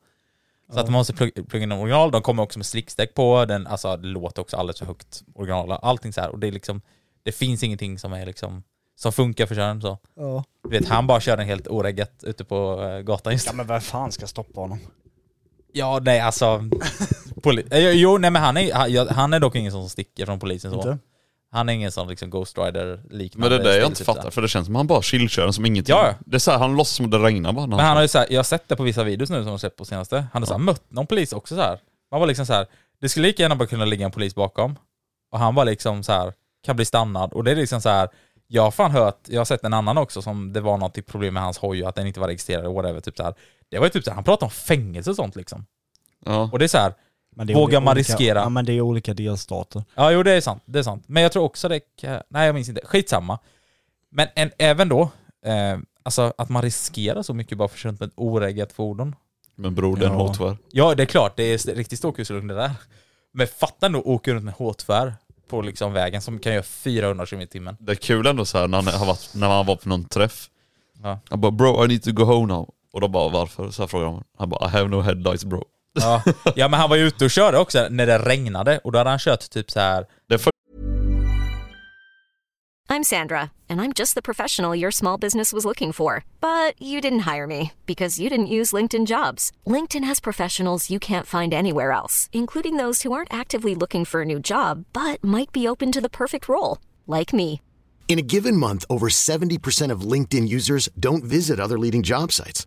Speaker 5: Så att man måste plugga, plugga in en original, de kommer också med slicksteg på, den, alltså det låter också alldeles för högt, originala, allting så här. Och det är liksom, det finns ingenting som är liksom, som funkar för köraren så.
Speaker 4: Ja.
Speaker 5: Du vet, han bara kör den helt oreggat ute på eh, gatan just
Speaker 4: ja men vem fan ska stoppa honom?
Speaker 5: Ja, nej alltså. Poli- Eh, jo, nej men han är, han- ja, han är dock ingen som sticker från polisen så.
Speaker 4: Inte?
Speaker 5: Han är ingen som liksom Ghost Rider
Speaker 3: Men
Speaker 5: liknande.
Speaker 3: det är det jag
Speaker 5: stil,
Speaker 3: inte
Speaker 5: typ
Speaker 3: fattar,
Speaker 5: där.
Speaker 3: för det känns som att han bara chillkör den som ingenting.
Speaker 5: Ja, ja.
Speaker 3: Det är så här, han låtsas som det regnar bara. när
Speaker 5: Men han har
Speaker 3: kör.
Speaker 5: ju så här, jag har sett det på vissa videos nu som de släppt på senaste. Han har så här, mött någon polis också så här. Man var liksom så här, det skulle lika gärna bara kunna ligga en polis bakom. Och han var liksom så här, kan bli stannad. Och det är liksom så här, jag har fan hört, jag har sett en annan också som det var något typ problem med hans hoj och att den inte var registrerad och whatever. Typ så här. Det var ju typ så här, han pratade om fängelse och sånt liksom.
Speaker 3: ja.
Speaker 5: Och det är så här,
Speaker 4: Men
Speaker 5: det är Vågar man olika- riskera? ja,
Speaker 4: Ja men det är olika delstater.
Speaker 5: Ja, jo det är sant. Det är sant. Men jag tror också det kan... Nej, jag minns inte. Skitsamma. Men en, även då, eh, alltså att man riskerar så mycket bara för att köra runt med ett oreggat fordon.
Speaker 3: Men bror, det är en
Speaker 4: Ja.
Speaker 3: H2R.
Speaker 5: Ja, det är klart, det är st- riktigt stor kuslugn det där. Men fatta ändå att åka runt med H2R på liksom vägen som kan göra 400 km i timmen.
Speaker 3: Det är kul ändå så här när han, har varit, när han var på någon träff.
Speaker 5: Ja.
Speaker 3: Han bara 'bro, I need to go home now' Och då bara 'varför?' Så här frågar han. Han bara 'I have no headlights bro' [LAUGHS]
Speaker 5: Ja. ja, men han var ju ute och körde också när det regnade och då hade han kört typ så här
Speaker 3: Det är för
Speaker 1: I'm Sandra, and I'm just the professional your small business was looking for. But you didn't hire me because you didn't use LinkedIn jobs. LinkedIn has professionals you can't find anywhere else, including those who aren't actively looking for a new job but might be open to the perfect role, like me.
Speaker 7: In a given month, over 70% of LinkedIn users don't visit other leading job sites.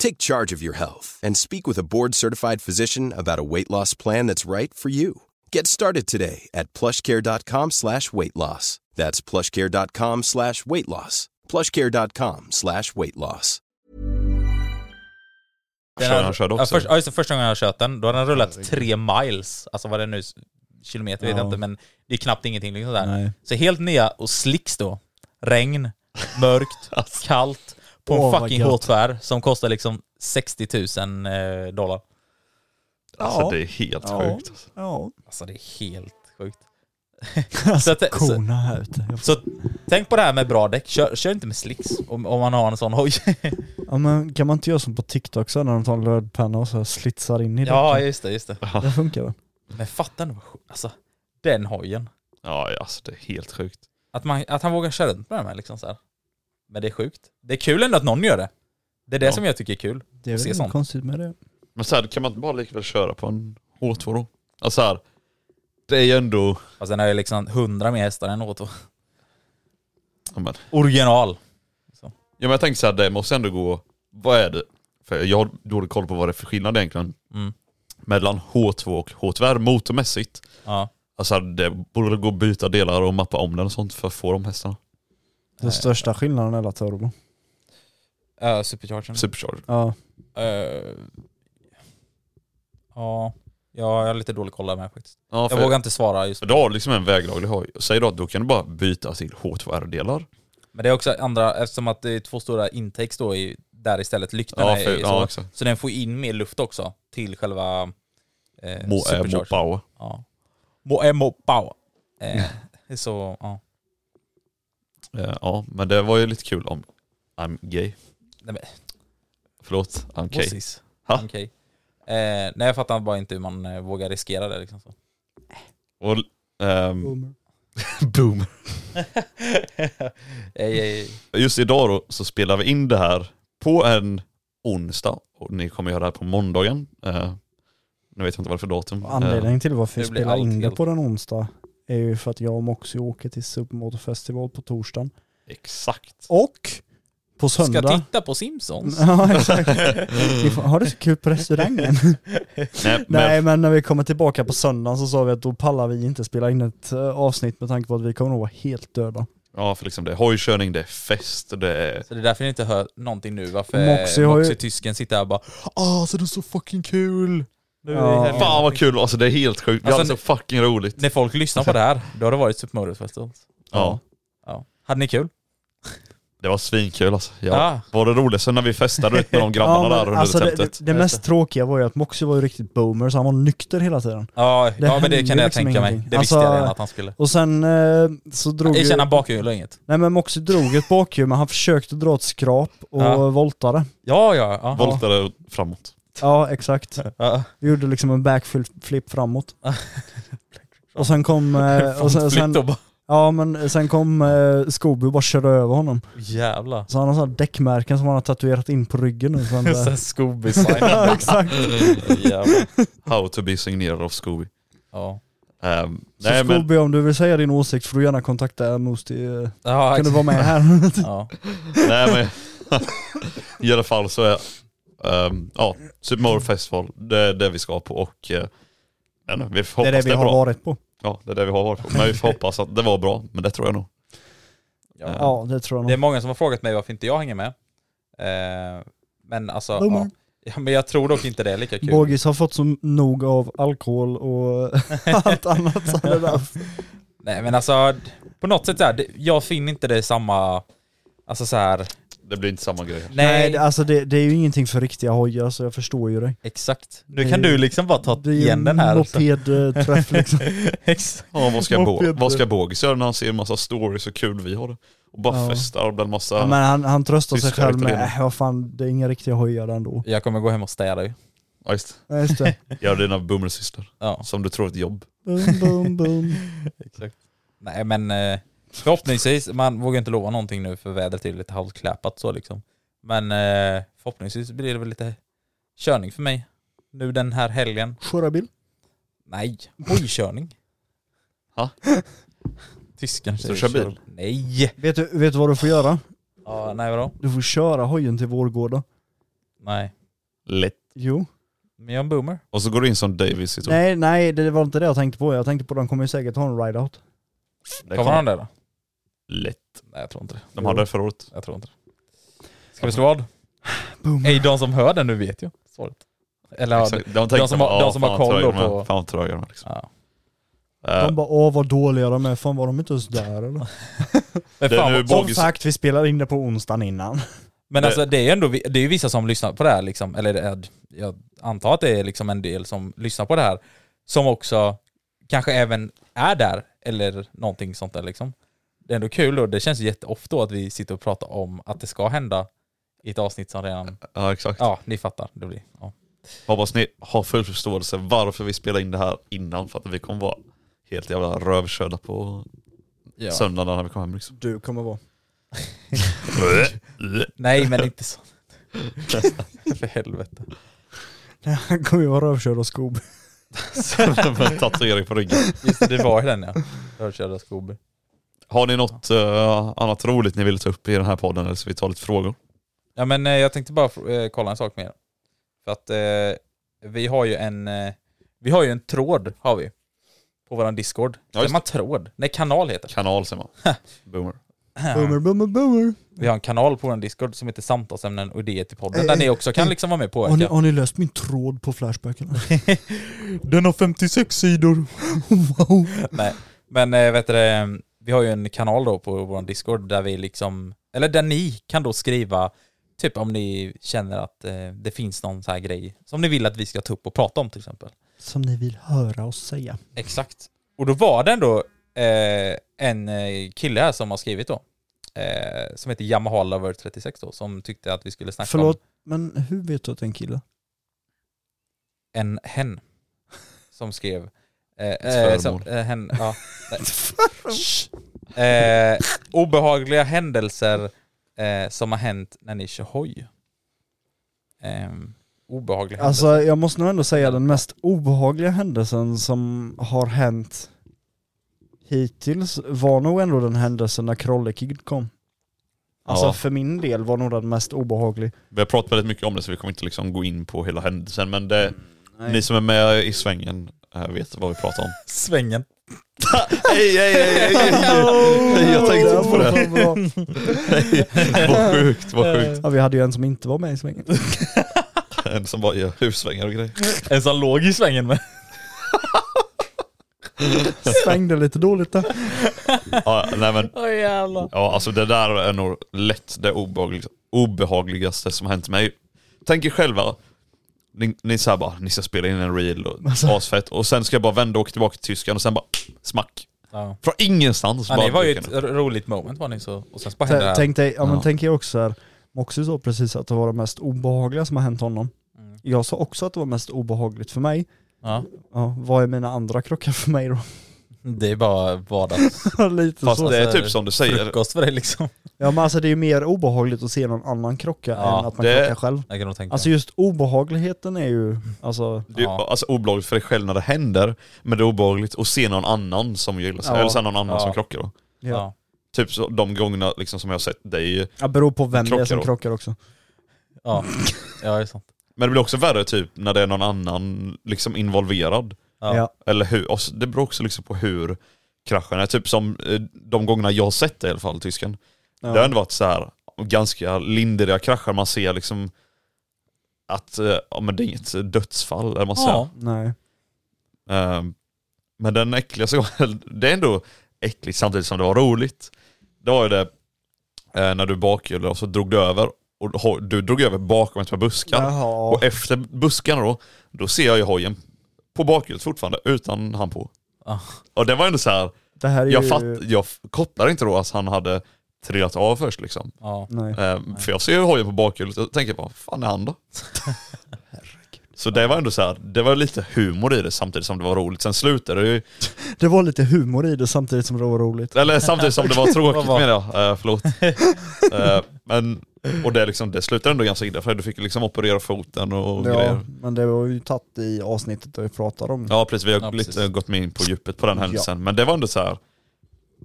Speaker 8: Take charge of your health and speak with a board-certified physician about a weight loss plan that's right for you. Get started today at plushcare.com slash weight loss. That's plushcare.com slash weight loss. Plushcare.com slash weight loss.
Speaker 3: [LAUGHS]
Speaker 5: Den
Speaker 3: Körde
Speaker 5: har-
Speaker 3: han körde
Speaker 5: Ja,
Speaker 3: också?
Speaker 5: först, ja, just det, första gången jag kört den, då hade den rullat tre miles. Alltså vad det nu s- kilometer vet jag
Speaker 4: Ja.
Speaker 5: inte, men det är knappt ingenting liksom där.
Speaker 4: Nej.
Speaker 5: Så helt nya och slicks då. Regn, mörkt, kallt, på en
Speaker 4: Åh, vad
Speaker 5: fucking
Speaker 4: gött.
Speaker 5: H2R som kostar liksom 60 000 eh, dollar.
Speaker 3: Alltså det är helt sjukt.
Speaker 4: Ja.
Speaker 5: Alltså det är helt sjukt. Så att- så-
Speaker 4: Korna här ute. Jag får-
Speaker 5: Så tänk på det här med bra däck. Kör, kör inte med slicks om, om man har en sån hoj.
Speaker 4: Ja, men kan man inte göra som på TikTok så här, när de tar en röd penna och så här slitsar in i
Speaker 5: [LAUGHS] ja,
Speaker 4: däcken?
Speaker 5: just det, just det.
Speaker 4: Det funkar väl?
Speaker 5: Men fatta nu, vad sj- alltså den hojen.
Speaker 3: Ja, alltså det är helt sjukt.
Speaker 5: Att, man, att han vågar köra runt med den här liksom så här. Men det är sjukt. Det är kul ändå att någon gör det. Det är det
Speaker 3: Ja.
Speaker 5: som jag tycker är kul.
Speaker 4: Det är
Speaker 5: Se
Speaker 4: väl inget
Speaker 5: sånt.
Speaker 4: konstigt med det.
Speaker 3: Men så här, kan man inte bara likväl köra på en H2 då? Alltså här, det är ju ändå...
Speaker 5: Fast den har ju liksom 100 mer hästar än H2.
Speaker 3: Ja, men,
Speaker 5: Original.
Speaker 3: ja, men jag tänkte så här, det måste ändå gå... Vad är det? För jag har dålig koll på vad det är för skillnad egentligen.
Speaker 5: Mm.
Speaker 3: Mellan H2 och H2R motormässigt.
Speaker 5: Ja.
Speaker 3: Alltså här, det borde gå att byta delar och mappa om den och sånt för att få de hästarna.
Speaker 4: Den största skillnaden är alla turbo.
Speaker 5: Uh, Superchargern.
Speaker 3: Supercharger.
Speaker 4: Ja.
Speaker 5: Eh, ja. ja, jag har lite dålig koll där med faktiskt.
Speaker 3: Ja,
Speaker 5: Jag
Speaker 3: för-
Speaker 5: vågar inte svara just
Speaker 3: Så Du har liksom en väglaglig hoj. Säg då att då kan du bara byta till H2R-delar.
Speaker 5: Men det är också andra, eftersom att det är två stora intakes då i, där istället, lyktorna
Speaker 3: Ja, för-
Speaker 5: är så,
Speaker 3: ja, exakt.
Speaker 5: så den får in mer luft också till själva eh,
Speaker 3: Mo, eh,
Speaker 5: superchargern.
Speaker 3: Mopao.
Speaker 5: Ja. Mo, eh, mo, power. Eh, så, ja.
Speaker 3: Eh, ja, men det var ju lite kul om I'm gay.
Speaker 5: Nej, men,
Speaker 3: Förlåt, I'm gay.
Speaker 5: okay.
Speaker 3: Ha?
Speaker 5: Okej. Eh, nej jag fattar bara inte hur man eh, vågar riskera det liksom. Så.
Speaker 3: Och, ehm, [LAUGHS] boom.
Speaker 5: Ej, ej, ej.
Speaker 3: Just idag då så spelar vi in det här på en onsdag. Och ni kommer göra det här på måndagen. Eh, nu vet jag inte vad det är för datum. Eh,
Speaker 4: Anledningen till varför vi
Speaker 5: Det blir
Speaker 4: spelar
Speaker 5: allt
Speaker 4: in det
Speaker 5: helt-
Speaker 4: på den onsdag är ju för att jag och Moxie åker till Supermotorfestival på torsdagen.
Speaker 3: exakt.
Speaker 4: Och på söndag...
Speaker 5: Ska titta på Simpsons?
Speaker 4: Ja exakt. Ni får- Har det så kul på restaurangen.
Speaker 3: Nej,
Speaker 4: Nej
Speaker 3: men,
Speaker 4: men när vi kommer tillbaka på söndagen så sa vi att då pallar vi inte spela in ett eh, avsnitt med tanke på att vi kommer nog vara helt döda.
Speaker 3: ja, för liksom det är hojkörning, det är fest, det är...
Speaker 5: Så det är därför ni inte hör någonting nu, varför
Speaker 4: Moxie
Speaker 5: Moxie,
Speaker 4: har ju-
Speaker 5: tysken sitter här och bara Ah, så det är så fucking kul! Nu
Speaker 4: Ja.
Speaker 5: helgen."
Speaker 3: Fan vad kul, alltså det är helt sjukt. Vi
Speaker 5: Alltså,
Speaker 3: hade så fucking roligt.
Speaker 5: När folk lyssnar på det här, då har det varit Supermodusfestival.
Speaker 3: Ja.
Speaker 5: Ja. Hade ni kul?
Speaker 3: Det var svinkul alltså. Ja.
Speaker 5: Ja.
Speaker 3: Var det roligt sen när vi festade ut med de grabbarna
Speaker 4: men
Speaker 3: där under
Speaker 4: alltså det,
Speaker 3: tältet?
Speaker 4: det, det mest tråkiga var ju att Moxie var ju riktigt boomer så han var nykter hela tiden.
Speaker 5: Ja,
Speaker 4: Det
Speaker 5: ja men det
Speaker 4: hände
Speaker 5: kan jag
Speaker 4: liksom
Speaker 5: tänka mig.
Speaker 4: ingenting.
Speaker 5: Det visste jag
Speaker 4: Alltså,
Speaker 5: redan att han skulle.
Speaker 4: Och sen eh, så drog ju...
Speaker 5: Jag känner bakhjul och inget.
Speaker 4: Nej men Moxie drog ett bakhjul men han försökte dra ett skrap och
Speaker 5: Ja.
Speaker 4: voltade.
Speaker 5: Ja, ja, ja.
Speaker 3: Voltade framåt.
Speaker 4: Ja exakt.
Speaker 5: ja.
Speaker 4: Vi gjorde liksom en backflip framåt. [LAUGHS] och sen kom... eh, Och sen, sen,
Speaker 5: Flytt och bara,
Speaker 4: ja men sen kom eh, Scooby och bara körde över honom.
Speaker 5: jävlar.
Speaker 4: Så han har sådana däckmärken som han har tatuerat in på ryggen nu.
Speaker 5: [LAUGHS]
Speaker 4: Så han
Speaker 5: Sen
Speaker 4: där. [LAUGHS]
Speaker 5: Scooby-signen.
Speaker 4: exakt.
Speaker 5: Jävlar.
Speaker 3: How to be signerad av Scooby.
Speaker 5: Ja.
Speaker 3: Ehm,
Speaker 4: Så
Speaker 3: nej men,
Speaker 4: Scooby om du vill säga din åsikt får du gärna kontakta Moosty. eh,
Speaker 5: Ja,
Speaker 4: Kan du
Speaker 5: exakt.
Speaker 4: vara med här?
Speaker 5: [LAUGHS] Ja.
Speaker 3: nej men. [LAUGHS] I alla fall så är ehm, ja, Super Mario Festival, det är det vi ska på och eh, jag vet inte, vi får
Speaker 4: det är
Speaker 3: hoppas
Speaker 4: det vi har
Speaker 3: bra.
Speaker 4: varit på.
Speaker 3: Ja, det är det vi har varit på. Men vi får hoppas att det var bra, men det tror jag nog. Ehm.
Speaker 5: Ja.
Speaker 4: Ja det tror jag
Speaker 5: Det är
Speaker 4: nog.
Speaker 5: många som har frågat mig varför inte jag hänger med. Eh, men alltså,
Speaker 4: Boomer.
Speaker 5: ja. ja. Men jag tror dock inte det är lika kul.
Speaker 4: Bogis har fått så nog av alkohol och [LAUGHS] allt annat. Så det där.
Speaker 5: Nej men alltså, på något sätt så här, det- jag finner inte det samma, alltså så här.
Speaker 3: Det blir inte samma
Speaker 4: [LAUGHS]
Speaker 3: grej.
Speaker 4: Nej, det, alltså det, det är ju ingenting för riktiga hojar så jag förstår ju dig.
Speaker 5: Exakt. Nu
Speaker 4: Det
Speaker 5: kan
Speaker 4: är ju-
Speaker 5: du liksom bara ta
Speaker 4: Det är ju
Speaker 5: igen den här. också. [LAUGHS]
Speaker 4: mopedträff liksom.
Speaker 5: Exakt.
Speaker 3: Ja, vad ska, bo-
Speaker 4: Moped.
Speaker 3: vad ska Bogis göra när han ser en massa stories och kul vi har det? Och bara
Speaker 4: Ja.
Speaker 3: festar bland massa...
Speaker 4: Ja, men han, han tröstar sig
Speaker 3: Tyskar,
Speaker 4: själv med,
Speaker 3: italienare.
Speaker 4: äh, vad fan, det är inga riktiga hojar ändå.
Speaker 5: Jag kommer gå hem och städa ju.
Speaker 3: Ja, just
Speaker 4: Ja,
Speaker 5: [LAUGHS]
Speaker 4: just det.
Speaker 3: det. Gör dina boomersystrar.
Speaker 5: Ja,
Speaker 3: Som du tror är ett jobb.
Speaker 4: Boom, boom, boom.
Speaker 5: [LAUGHS] exakt. Nej men eh, förhoppningsvis, man vågar inte lova någonting nu för vädret är lite halvkläpat så liksom. Men eh, förhoppningsvis blir det väl lite körning för mig. Nu den här helgen.
Speaker 4: Köra bil.
Speaker 5: Nej, hojkörning.
Speaker 3: Ha?
Speaker 5: [LAUGHS] Tysken
Speaker 3: Så du kör bil?
Speaker 5: Nej!
Speaker 4: Vet du, vet du vad du får göra?
Speaker 5: Ja, nej vadå?
Speaker 4: Du får köra hojen till Vårgårda.
Speaker 5: Nej.
Speaker 3: Lätt.
Speaker 4: Jo.
Speaker 5: Men jag är en boomer.
Speaker 3: Och så går du in som Davis i typ-
Speaker 4: Nej, nej, det var inte det jag tänkte på. Jag tänkte på de kommer ju säkert ha en ride-out.
Speaker 5: Kommer han det då?
Speaker 3: Lätt.
Speaker 5: Nej jag tror inte det.
Speaker 3: De hade det förra året.
Speaker 5: Jag tror inte det. Ska vi slå vad?
Speaker 4: Boom.
Speaker 5: Ej, de som hör den nu vet ju svaret. Eller ja,
Speaker 3: Exakt. De, tänkte,
Speaker 5: de som har-
Speaker 3: "Ja,
Speaker 5: de som har
Speaker 3: fan,
Speaker 5: koll då
Speaker 3: tröger de är-
Speaker 5: på-
Speaker 3: Fan tröger de är, liksom.
Speaker 5: ja.
Speaker 3: Eh,
Speaker 4: De bara åh vad dåliga de är, fan var de inte ens där eller?
Speaker 5: Men,
Speaker 3: Det är
Speaker 5: fan,
Speaker 3: nu
Speaker 5: vad-
Speaker 3: bo-
Speaker 4: Som
Speaker 3: Bogis-
Speaker 4: sagt, vi spelar in det på onsdagen innan.
Speaker 5: men
Speaker 3: det-
Speaker 5: alltså det är ju ändå vi- det är ju vissa som lyssnar på det här liksom, eller det är, jag antar att det är liksom en del som lyssnar på det här som också kanske även är där eller någonting sånt där liksom. Det är ändå kul och det känns jätteofta då att vi sitter och pratar om att det ska hända i ett avsnitt som redan,
Speaker 3: Ja exakt.
Speaker 5: ja ni fattar. Det blir, ja.
Speaker 3: Hoppas ni har full förståelse varför vi spelar in det här innan för att vi kommer vara helt jävla rövkörda på söndagen när vi kommer hem liksom.
Speaker 4: Du kommer vara.
Speaker 5: Nej men inte så. [LAUGHS] För helvete.
Speaker 4: Nej, Han kommer ju vara rövkörd och skob.
Speaker 3: Sen med en tatuering på ryggen.
Speaker 5: Just det, det var ju den ja. Rödkärra Scooby.
Speaker 3: Har ni något eh, annat roligt ni vill ta upp i den här podden eller ska vi ta lite frågor?
Speaker 5: Ja men eh, jag tänkte bara fr- eh, kolla en sak med er. För att eh, vi har ju en, eh, vi har ju en tråd har vi. På våran discord. Ja,
Speaker 3: just
Speaker 5: man tråd? Nej kanal heter
Speaker 3: Kanal säger man. Boomer.
Speaker 5: det.
Speaker 4: Boomer, boomer, boomer.
Speaker 5: Vi har en kanal på våran discord som heter samtalsämnen och idéer till podden. Där ni också kan liksom vara med och
Speaker 4: Eh, Har ni,
Speaker 5: påverka.
Speaker 4: har ni löst min tråd på Flashbacken?
Speaker 5: [LAUGHS] Den har 56 sidor.
Speaker 4: wow.
Speaker 5: Nej, men eh, vet du, det, vi har ju en kanal då på vår Discord där vi liksom, eller där ni kan då skriva typ om ni känner att eh, det finns någon så här grej som ni vill att vi ska ta upp och prata om till exempel.
Speaker 4: Som ni vill höra oss säga.
Speaker 5: Exakt. Och då var det ändå eh, en eh, kille här som har skrivit då, eh, som heter Yamaha Lover 36 då, som tyckte att vi skulle snacka om
Speaker 4: Förlåt, men hur vet du att det är en kille?
Speaker 5: en hen som skrev eh, eh,
Speaker 3: Svärmor.
Speaker 5: som, eh, hen, [LAUGHS] ja, nej. Shh. eh, obehagliga händelser eh, som har hänt när ni kör hoj. Eh, obehagliga
Speaker 4: Alltså
Speaker 5: händelser.
Speaker 4: jag måste nog ändå säga den mest obehagliga händelsen som har hänt hittills var nog ändå den händelsen när Krolle Kid kom. Alltså
Speaker 3: Ja.
Speaker 4: för min del var nog den mest obehaglig.
Speaker 3: Vi har pratat väldigt mycket om det så vi kommer inte liksom gå in på hela händelsen men det, ni som är med i svängen eh, vet vad vi pratar om.
Speaker 5: Svängen.
Speaker 3: Hej hej hej! Jag tänkte inte på det.
Speaker 4: var bra.
Speaker 3: Vad sjukt, vad sjukt.
Speaker 4: Eh, Ja, vi hade ju en som inte var med i svängen.
Speaker 3: [LAUGHS] En som bara gör hussvängar och grejer.
Speaker 5: En som låg i svängen med.
Speaker 4: Svängde lite dåligt där.
Speaker 3: Ja, nej men
Speaker 5: Åh jävlar.
Speaker 3: Ja, alltså det där är nog lätt det obehaglig- obehagligaste som har hänt mig. Tänk er själva, ni, ni säger bara, ni ska spela in en reel och
Speaker 4: Alltså.
Speaker 3: asfett och sen ska jag bara vända och åka tillbaka till Tyskland och sen bara smack.
Speaker 5: Ja.
Speaker 3: Från ingenstans.
Speaker 5: Ja, det var ju
Speaker 3: dyker
Speaker 5: ett
Speaker 3: den upp.
Speaker 5: roligt moment var ni så, och sen bara hände det
Speaker 4: T-
Speaker 5: här.
Speaker 4: Tänk dig, ja men
Speaker 3: Ja.
Speaker 4: tänk er också här, Moxie sa precis att det var det mest obehagliga som har hänt honom. Jag sa också att det var mest obehagligt för mig.
Speaker 5: Ja.
Speaker 4: Ja, vad är mina andra krockar för mig då?
Speaker 5: Det är bara vardags
Speaker 4: lite så.
Speaker 3: Fast det är
Speaker 5: alltså,
Speaker 3: typ som du säger,
Speaker 5: frukost för dig liksom.
Speaker 4: Ja men alltså det är ju mer obehagligt att se någon annan krocka
Speaker 5: Ja,
Speaker 4: än att man
Speaker 3: det-
Speaker 4: krockar själv.
Speaker 5: Jag kan nog tänka
Speaker 4: Alltså
Speaker 5: mig.
Speaker 4: just obehagligheten är ju, alltså,
Speaker 3: det är,
Speaker 5: Ja.
Speaker 3: alltså obehagligt för dig själv när det händer, men det är obehagligt att se någon annan som gillar sig,
Speaker 4: Ja.
Speaker 3: eller sen någon annan
Speaker 5: Ja.
Speaker 3: som krockar då.
Speaker 4: ja.
Speaker 5: ja.
Speaker 3: Typ så, de gångerna liksom, som jag har sett dig
Speaker 4: det beror på vem det
Speaker 3: Krockar
Speaker 4: är som
Speaker 3: då.
Speaker 4: krockar också.
Speaker 5: Ja. ja, det är sant.
Speaker 3: Men det blir också värre typ när det är någon annan liksom involverad.
Speaker 5: Ja.
Speaker 4: Ja.
Speaker 3: Eller hur, och så- det beror också liksom på hur kraschen är. Typ som eh, de gångerna jag har sett det i alla fall, tysken. Det har ändå varit så här ganska lindriga krascher. Man ser liksom att eh, ja, men det är inget dödsfall. Eller man
Speaker 5: Ja.
Speaker 4: Nej.
Speaker 3: säger. Eh, Men den äckligaste gången, [LAUGHS] det är ändå äckligt samtidigt som det var roligt. Det var ju det eh, när du bakhjulade och så drog du över. Och ho- du drog över bakom ett par buskar.
Speaker 4: Jaha.
Speaker 3: Och efter buskarna då, då ser jag ju hojen på bakhjulet fortfarande utan han på.
Speaker 5: Ah.
Speaker 3: Och det var ändå så här,
Speaker 4: Det här är ju...
Speaker 3: jag, fatt, jag f- kopplar inte då att han hade trillat av först liksom.
Speaker 5: Ja.
Speaker 4: Nej.
Speaker 3: Ehm, för jag ser ju hojen på bakhjulet och tänker bara, fan är han då? Så det var ändå så här, det var lite humor i det samtidigt som det var roligt. Sen slutade det ju,
Speaker 4: Det var lite humor i det samtidigt som det var roligt.
Speaker 3: eller samtidigt som det var tråkigt
Speaker 5: Vad var-
Speaker 3: menar jag, uh, förlåt. Ehm, men, och det, liksom, det slutade ändå ganska illa för du fick liksom operera foten och
Speaker 4: Ja,
Speaker 3: grejer.
Speaker 4: men det var ju tagit i avsnittet där vi pratade om.
Speaker 3: Ja precis, vi har
Speaker 5: Ja, precis.
Speaker 3: lite gått mer in på djupet på den händelsen. Men det var ändå så här.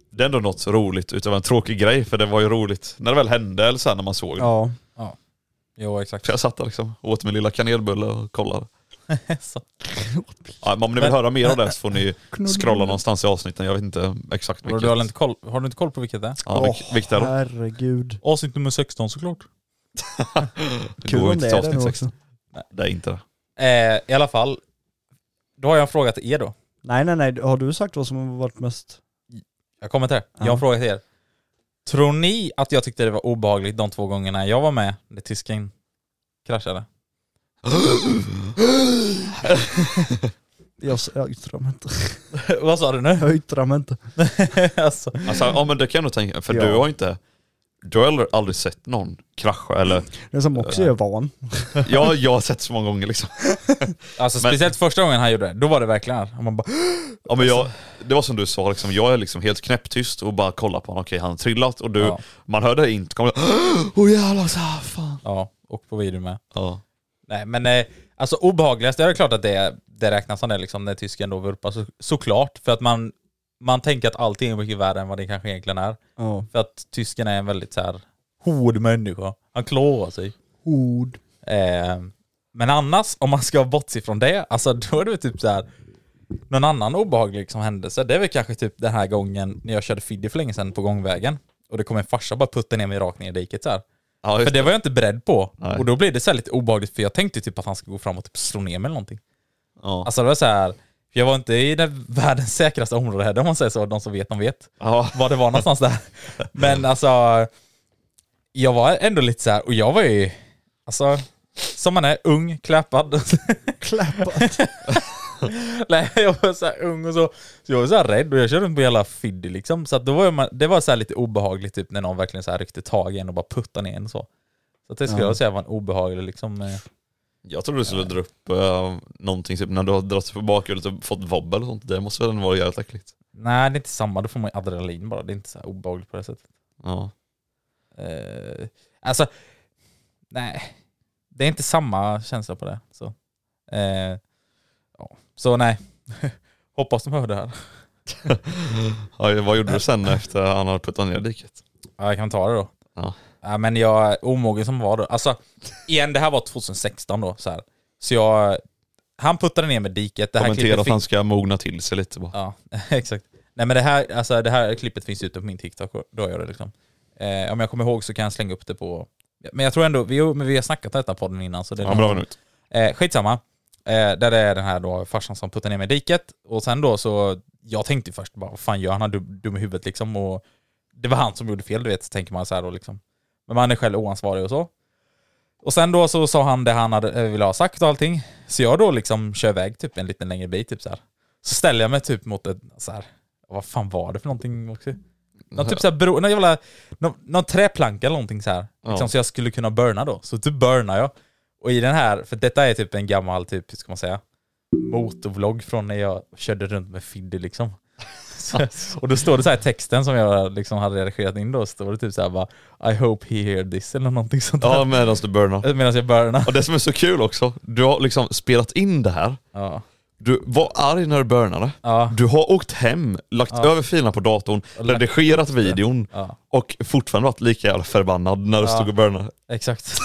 Speaker 3: Det är ändå något roligt utöver en tråkig grej, för det var ju roligt när det väl hände eller så här, när man såg det.
Speaker 4: Ja.
Speaker 5: Jo, exakt.
Speaker 3: Så jag satt där liksom, åt min lilla kanelbulle och kollade.
Speaker 5: [LAUGHS] Så.
Speaker 3: Ja, men om ni vill
Speaker 5: Men-
Speaker 3: höra mer av det så får ni
Speaker 4: [LAUGHS]
Speaker 3: scrolla
Speaker 4: Knullbulle.
Speaker 3: någonstans i avsnitten, jag vet inte exakt
Speaker 5: Vadå,
Speaker 3: vilket.
Speaker 5: Du har, inte koll, har du inte koll på vilket det är?
Speaker 3: ja, vilk,
Speaker 4: Åh,
Speaker 3: vilket är det?
Speaker 4: herregud.
Speaker 5: Avsnitt nummer 16 såklart.
Speaker 3: [LAUGHS] Det går
Speaker 4: Kul
Speaker 3: ju
Speaker 4: om
Speaker 3: inte
Speaker 4: det
Speaker 3: till
Speaker 4: är det
Speaker 3: avsnitt
Speaker 4: nu
Speaker 3: 16.
Speaker 4: också.
Speaker 3: Det är inte det. [LAUGHS]
Speaker 5: Eh, I alla fall, då har jag en fråga till er då.
Speaker 4: Nej nej nej, har du sagt vad som har varit mest...
Speaker 5: Jag kommer till det. Jag har en
Speaker 4: Ja.
Speaker 5: fråga till er. Tror ni att jag tyckte det var obehagligt de två gångerna jag var med när tysken kraschade?
Speaker 4: Jag, s- jag yttrar mig inte.
Speaker 5: [LAUGHS]
Speaker 4: [LAUGHS]
Speaker 5: Vad sa du nu?
Speaker 4: Jag yttrar mig inte.
Speaker 5: alltså,
Speaker 3: Alltså, ja men det kan jag nog tänka för
Speaker 4: Ja.
Speaker 3: du har inte, du har aldrig- aldrig sett någon krascha
Speaker 4: [LAUGHS]
Speaker 3: eller,
Speaker 4: Det är som också är van.
Speaker 3: ja jag har sett så många gånger liksom.
Speaker 5: alltså
Speaker 3: Men-
Speaker 5: speciellt första gången han gjorde det, då var det verkligen och [GASPS] man bara
Speaker 3: Ja, men jag, det var som du sa, liksom, jag är liksom helt knäpptyst och bara kollar på honom, okej han har trillat och du,
Speaker 5: Ja.
Speaker 3: man hörde inte, kommer [GASPS] åh jävlar så här, fan.
Speaker 5: Ja, och på video med.
Speaker 3: Ja.
Speaker 5: Nej men eh, alltså obehagligast, det är klart att det, det räknas som det liksom när tysken då vurpar så, såklart. För att man, man tänker att allting är mycket värre än vad det kanske egentligen är.
Speaker 4: Ja.
Speaker 5: För att tysken är en väldigt så här hård människa. Han klår sig.
Speaker 4: Ord.
Speaker 5: Eh, men annars, om man ska bortse från det, alltså då är det väl typ så här. Någon annan obehaglig liksom händelse, det är väl kanske typ den här gången när jag körde fiddy för länge sedan på gångvägen. Och det kom en farsa och bara puttade ner mig rakt ner i diket så här.
Speaker 3: Ja,
Speaker 5: För
Speaker 3: just,
Speaker 5: det var jag inte beredd på.
Speaker 3: Nej.
Speaker 5: Och då blev det så här lite obehagligt för jag tänkte typ att han skulle gå fram och typ slå ner mig eller någonting.
Speaker 3: ja.
Speaker 5: Alltså det var så här. för jag var inte i det världens säkraste område här, om man säger så. De som vet, de vet.
Speaker 3: Ja.
Speaker 5: Var det var någonstans där. Men alltså, jag var ändå lite så här, och jag var ju, alltså, som man är, ung, kläpad. [LAUGHS]
Speaker 4: Kläppat.
Speaker 5: Nej, jag var så här ung och så. Så jag var så här rädd och jag körde runt på jävla fiddy liksom. Så att då var man, det var så här lite obehagligt typ när någon verkligen så här ryckte tag i en och bara puttade ner en och så. Så att det skulle
Speaker 4: Ja.
Speaker 5: jag säga var en obehaglig liksom. eh,
Speaker 3: Jag trodde du skulle dra upp eh, någonting, typ, när du har dragit på bakhjulet och fått vobbel och sånt, det måste väl ändå vara jävligt äckligt.
Speaker 5: Nej, det är inte samma. Då får man ju adrenalin bara. Det är inte så här obehagligt på det sättet.
Speaker 3: Ja.
Speaker 5: Eh, alltså, nej. Det är inte samma känsla på det. Så, eh, ja. så nej. [LAUGHS] Hoppas de hör det här.
Speaker 3: Ja, vad gjorde du sen efter han hade puttat ner diket?
Speaker 5: Ja, jag kan ta det då.
Speaker 3: Ja.
Speaker 5: Ja, men jag, omogen som var då. Alltså, igen, det här var 2016 då. Så, här. så jag, han puttade ner med diket. Det här
Speaker 3: Kommentera att
Speaker 5: klippet
Speaker 3: han
Speaker 5: finns...
Speaker 3: ska mogna till sig lite bara.
Speaker 5: Ja, [LAUGHS] exakt. Nej men det här, alltså, det här klippet finns ute på min TikTok, och då gör det liksom. Eh, om jag kommer ihåg så kan jag slänga upp det på... Men jag tror ändå, vi, har- men vi har snackat om detta podden innan så det är
Speaker 3: Ja, bra minut.
Speaker 5: Eh, skitsamma. Eh, där det är den här då farsan som puttar ner mig i diket. Och sen då så, jag tänkte ju först bara vad fan gör han? Han är dum, dum i huvudet liksom. Och det var han som gjorde fel du vet, så tänker man så här då liksom. Men man är själv oansvarig och så. Och sen då så sa han det han hade, eh, ville ha sagt och allting. Så jag då liksom kör iväg typ en liten längre bit typ så här. Så ställer jag mig typ mot ett så här. vad fan var det för någonting också? Någon typ såhär bro, någon jävla, någon, någon träplanka eller någonting så här. Liksom,
Speaker 3: Ja.
Speaker 5: Så jag skulle kunna burna då. Så typ burnar jag. Och i den här, för detta är typ en gammal typ, hur ska man säga, motorvlogg från när jag körde runt med Fiddy liksom. [LAUGHS] Så, och då står det så här i texten som jag liksom hade redigerat in då, står det typ så här bara I hope he hear this eller någonting sånt där. [LAUGHS]
Speaker 3: Ja, medan du burnar.
Speaker 5: Medan jag burnar.
Speaker 3: Och det som är så kul också, du har liksom spelat in det här,
Speaker 5: Ja.
Speaker 3: du var arg när du burnade,
Speaker 5: Ja.
Speaker 3: du har åkt hem, lagt över filerna på datorn, redigerat videon
Speaker 5: Ja.
Speaker 3: och fortfarande varit lika jävla förbannad när du stod och burnade.
Speaker 5: Exakt.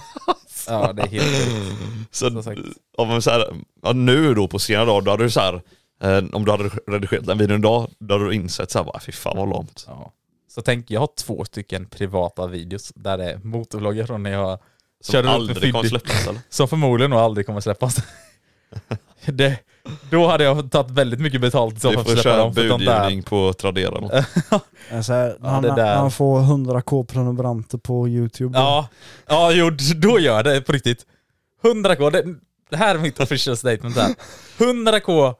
Speaker 5: [LAUGHS] ja, det är helt sjukt.
Speaker 3: Så,
Speaker 5: Som sagt.
Speaker 3: ja, men så här, ja, nu då på senare dagar, då hade du så här, eh, om du hade redigerat den videon idag, då hade du insett så här, bara, fy fan vad lamt.
Speaker 5: Ja. Så tänk, jag har två stycken privata videos där det är motorvloggar från när jag
Speaker 3: Som
Speaker 5: körde runt med
Speaker 3: aldrig kommer
Speaker 5: Fiddy.
Speaker 3: släppas eller?
Speaker 5: Som förmodligen nog aldrig kommer släppas. [LAUGHS] det, då hade jag tagit väldigt mycket betalt så
Speaker 3: Vi
Speaker 5: för
Speaker 3: får
Speaker 5: att släppa
Speaker 3: köra
Speaker 5: dem. För de där
Speaker 3: budgivning på Tradera.
Speaker 5: [LAUGHS]
Speaker 3: eller något.
Speaker 4: Alltså, när han,
Speaker 5: det där.
Speaker 4: när han får 100k prenumeranter på youtube.
Speaker 5: Ja, ja jo, d- då gör jag det på riktigt. 100k, det, det här är mitt official statement här. 100k,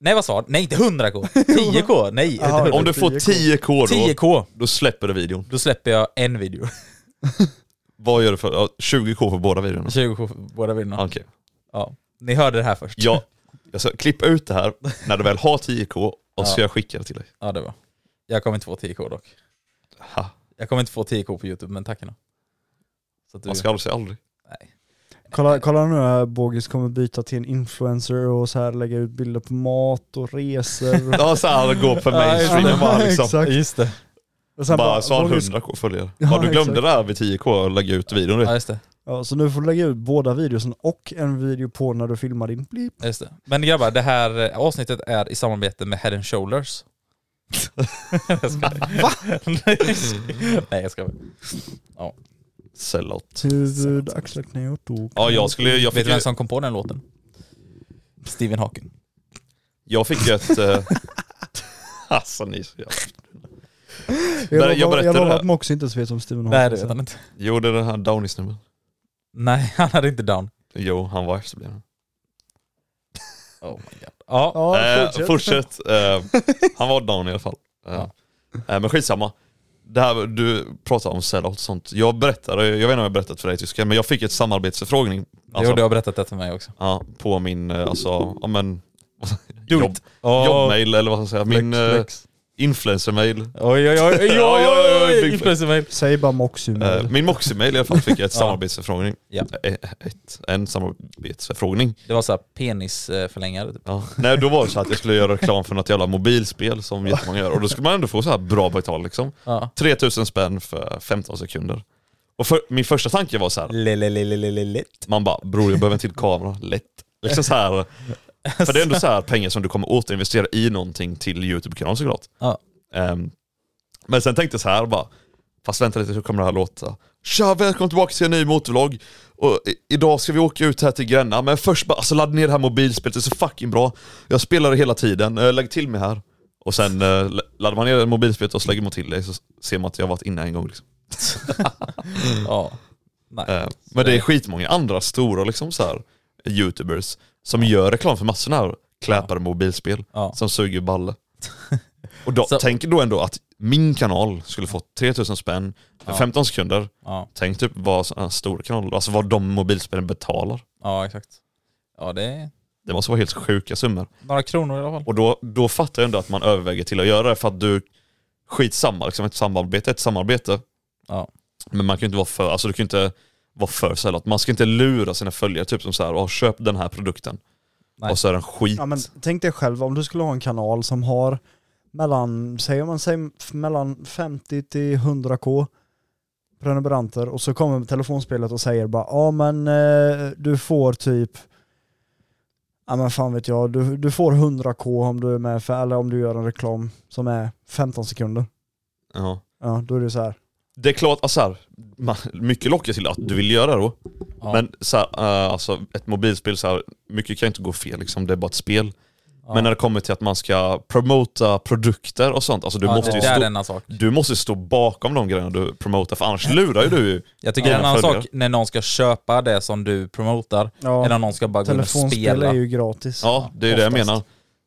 Speaker 5: nej vad sa du? Nej inte 100k, 10k, nej. inte
Speaker 4: Jaha,
Speaker 5: 100K.
Speaker 3: Om du får 10k då,
Speaker 5: 10k,
Speaker 3: då släpper du videon.
Speaker 5: då släpper jag en video.
Speaker 3: Vad gör du för, ja, 20k för båda videorna?
Speaker 5: 20k för båda videorna.
Speaker 3: Okej.
Speaker 5: Ja. Ni hörde det här först.
Speaker 3: Jag, jag ska klippa ut det här när du väl har 10k och så ska jag skicka det till dig.
Speaker 5: [LAUGHS] Ja det var. Jag kommer inte få 10k dock.
Speaker 3: Ha,
Speaker 5: Jag kommer inte få 10k på youtube, men tack ändå. Så att du,
Speaker 3: man ska aldrig säga aldrig.
Speaker 4: Kolla, kolla nu här, Bogis kommer byta till en influencer och så här lägga ut bilder på mat och resor.
Speaker 3: [LAUGHS] Ja såhär, gå
Speaker 5: [LAUGHS]
Speaker 3: på mainstreamen bara liksom.
Speaker 4: Exakt.
Speaker 5: Just det.
Speaker 4: Och sen
Speaker 3: Bara, så har han
Speaker 4: Bogis-
Speaker 3: 100k följare.
Speaker 4: Ja,
Speaker 3: Ja, du glömde
Speaker 4: exakt.
Speaker 3: det här vid 10k och lägga ut videon.
Speaker 5: Ja
Speaker 3: du.
Speaker 5: just det.
Speaker 4: Ja, så nu får du lägga ut båda videosen och en video på när du filmar din blip.
Speaker 5: Just det. Men grabbar, det här eh, avsnittet är i samarbete med Head and Shoulders. jag skojar. Va?
Speaker 3: [LAUGHS]
Speaker 5: Nej jag skojar.
Speaker 3: Sellout.
Speaker 4: Huvud, axlar, knä och tå.
Speaker 3: Ja jag skulle jag
Speaker 5: Vet
Speaker 3: fick
Speaker 5: du
Speaker 3: ju,
Speaker 5: vem som kom på den låten? Stephen Hawking.
Speaker 3: jag fick ju ett...
Speaker 4: [LAUGHS]
Speaker 3: eh, Alltså ni är så jävla...
Speaker 4: Jag,
Speaker 3: jag
Speaker 4: lovar- jag,
Speaker 3: berättade
Speaker 4: lovar
Speaker 3: det.
Speaker 4: att Mox inte ens vet om Steven
Speaker 5: Nej
Speaker 4: Hawking.
Speaker 5: det vet han inte.
Speaker 3: Jo det är den här Downies nummer.
Speaker 5: [LAUGHS] Nej han hade inte down.
Speaker 3: Jo han var efterbliven.
Speaker 5: Oh my god. Ja,
Speaker 4: Ja,
Speaker 3: Eh,
Speaker 4: fortsätt.
Speaker 3: fortsätt. Eh, han var down i alla fall. Eh, eh, men skitsamma. Det här, du pratar om sellout och sånt. Jag berättade, jag vet inte om jag berättat för dig tysken, men jag fick ett samarbetsförfrågning.
Speaker 5: det
Speaker 3: Alltså,
Speaker 5: gjorde jag berättat det för mig också.
Speaker 3: ja, på min, eh, alltså, ja
Speaker 5: [LAUGHS]
Speaker 3: men,
Speaker 5: Do
Speaker 3: jobb,
Speaker 5: it. Ja.
Speaker 3: jobbmail eller vad ska jag säga. Min
Speaker 5: Flex,
Speaker 3: eh,
Speaker 5: flex.
Speaker 3: influencer-mail.
Speaker 5: Oj, oj, oj, oj,
Speaker 3: Ja,
Speaker 5: oj,
Speaker 3: ja, ja,
Speaker 5: oj,
Speaker 3: big-
Speaker 5: oj, influencer-mail.
Speaker 4: Säg bara Moxie
Speaker 3: Eh,
Speaker 4: mail.
Speaker 3: Min Moxie-mail i alla fall
Speaker 5: [LAUGHS]
Speaker 3: fick jag ett samarbetsförfrågning.
Speaker 5: Ja.
Speaker 3: Eh, Ett, en samarbetsförfrågning.
Speaker 5: Det var såhär penisförlängare typ.
Speaker 3: Ja. Nej då var det så att jag skulle göra reklam för något jävla mobilspel som jättemånga gör och då skulle man ändå få så här bra betalt liksom.
Speaker 5: Ja.
Speaker 3: 3000 spänn för 15 sekunder. Och för, min första tanke var så här,
Speaker 5: Lelelelelelelett.
Speaker 3: man bara bror jag behöver en till kamera, lätt. Liksom så här, för det är ändå så här pengar som du kommer återinvestera i någonting till YouTube-kanalen såklart.
Speaker 5: Ja.
Speaker 3: Ehm, men sen tänkte jag så här bara, fast vänta lite hur kommer det här låta? Tja, välkommen tillbaka till en ny motorvlogg. Och i- idag ska vi åka ut här till Gränna, men först bara, alltså ladda ner det här mobilspelet, det är så fucking bra. Jag spelar det hela tiden, Eh, lägg till mig här. Och sen eh, l- laddar man ner mobilspelet och så lägger man till det, så ser man att jag har varit inne en gång. Liksom.
Speaker 5: Mm. Ja. Nej.
Speaker 3: Eh, men det är skitmånga andra stora liksom så här, youtubers som gör reklam för massorna här kläpade mobilspel
Speaker 5: Ja.
Speaker 3: som suger balle. Och då,
Speaker 5: [LAUGHS] Så-
Speaker 3: tänk då ändå att min kanal skulle fått 3000 spänn för 15 sekunder.
Speaker 5: Ja,
Speaker 3: Tänk typ vad en stor kanal, alltså vad de mobilspelen betalar.
Speaker 5: ja exakt. Ja det är
Speaker 3: Det måste vara helt sjuka summor.
Speaker 5: några kronor i alla fall.
Speaker 3: Och då, då fattar jag ändå att man överväger till att göra det för att du, skitsamma liksom, ett samarbete är ett samarbete.
Speaker 5: Ja.
Speaker 3: Men man kan ju inte vara för, alltså du kan ju inte vara för sällan. Man ska inte lura sina följare typ som så här, "Åh, köp den här produkten.
Speaker 5: Nej.
Speaker 3: Och så är den skit.
Speaker 4: Ja, men tänk dig själv om du skulle ha en kanal som har mellan, säger man, säger, f- mellan 50 till 100k prenumeranter och så kommer telefonspelet och säger bara ja men eh, du får typ ja men fan vet jag, du, du får 100k om du är med för, eller om du gör en reklam som är 15 sekunder.
Speaker 3: Ja.
Speaker 4: Ja, då är det så här.
Speaker 3: Det är klart, alltså här, man, mycket lockar till att du vill göra då.
Speaker 5: Ja.
Speaker 3: Men så här, eh, alltså ett mobilspel, så här, mycket kan ju inte gå fel liksom, det är bara ett spel.
Speaker 5: Ja.
Speaker 3: Men när det kommer till att man ska promota produkter och sånt, alltså du,
Speaker 5: ja,
Speaker 3: måste,
Speaker 5: det
Speaker 3: ju
Speaker 5: där är
Speaker 3: stå,
Speaker 5: en annan sak.
Speaker 3: du måste stå bakom de grejerna du promotar, för annars lurar ju du ju.
Speaker 5: Jag tycker det är en
Speaker 3: dina
Speaker 5: annan
Speaker 3: följare.
Speaker 5: sak när någon ska köpa det som du promotar,
Speaker 4: Ja,
Speaker 5: eller om någon ska bara gå in och
Speaker 4: telefonspel
Speaker 5: spela.
Speaker 4: är ju gratis.
Speaker 3: Ja, det är ju det jag
Speaker 4: Oftast.
Speaker 3: menar.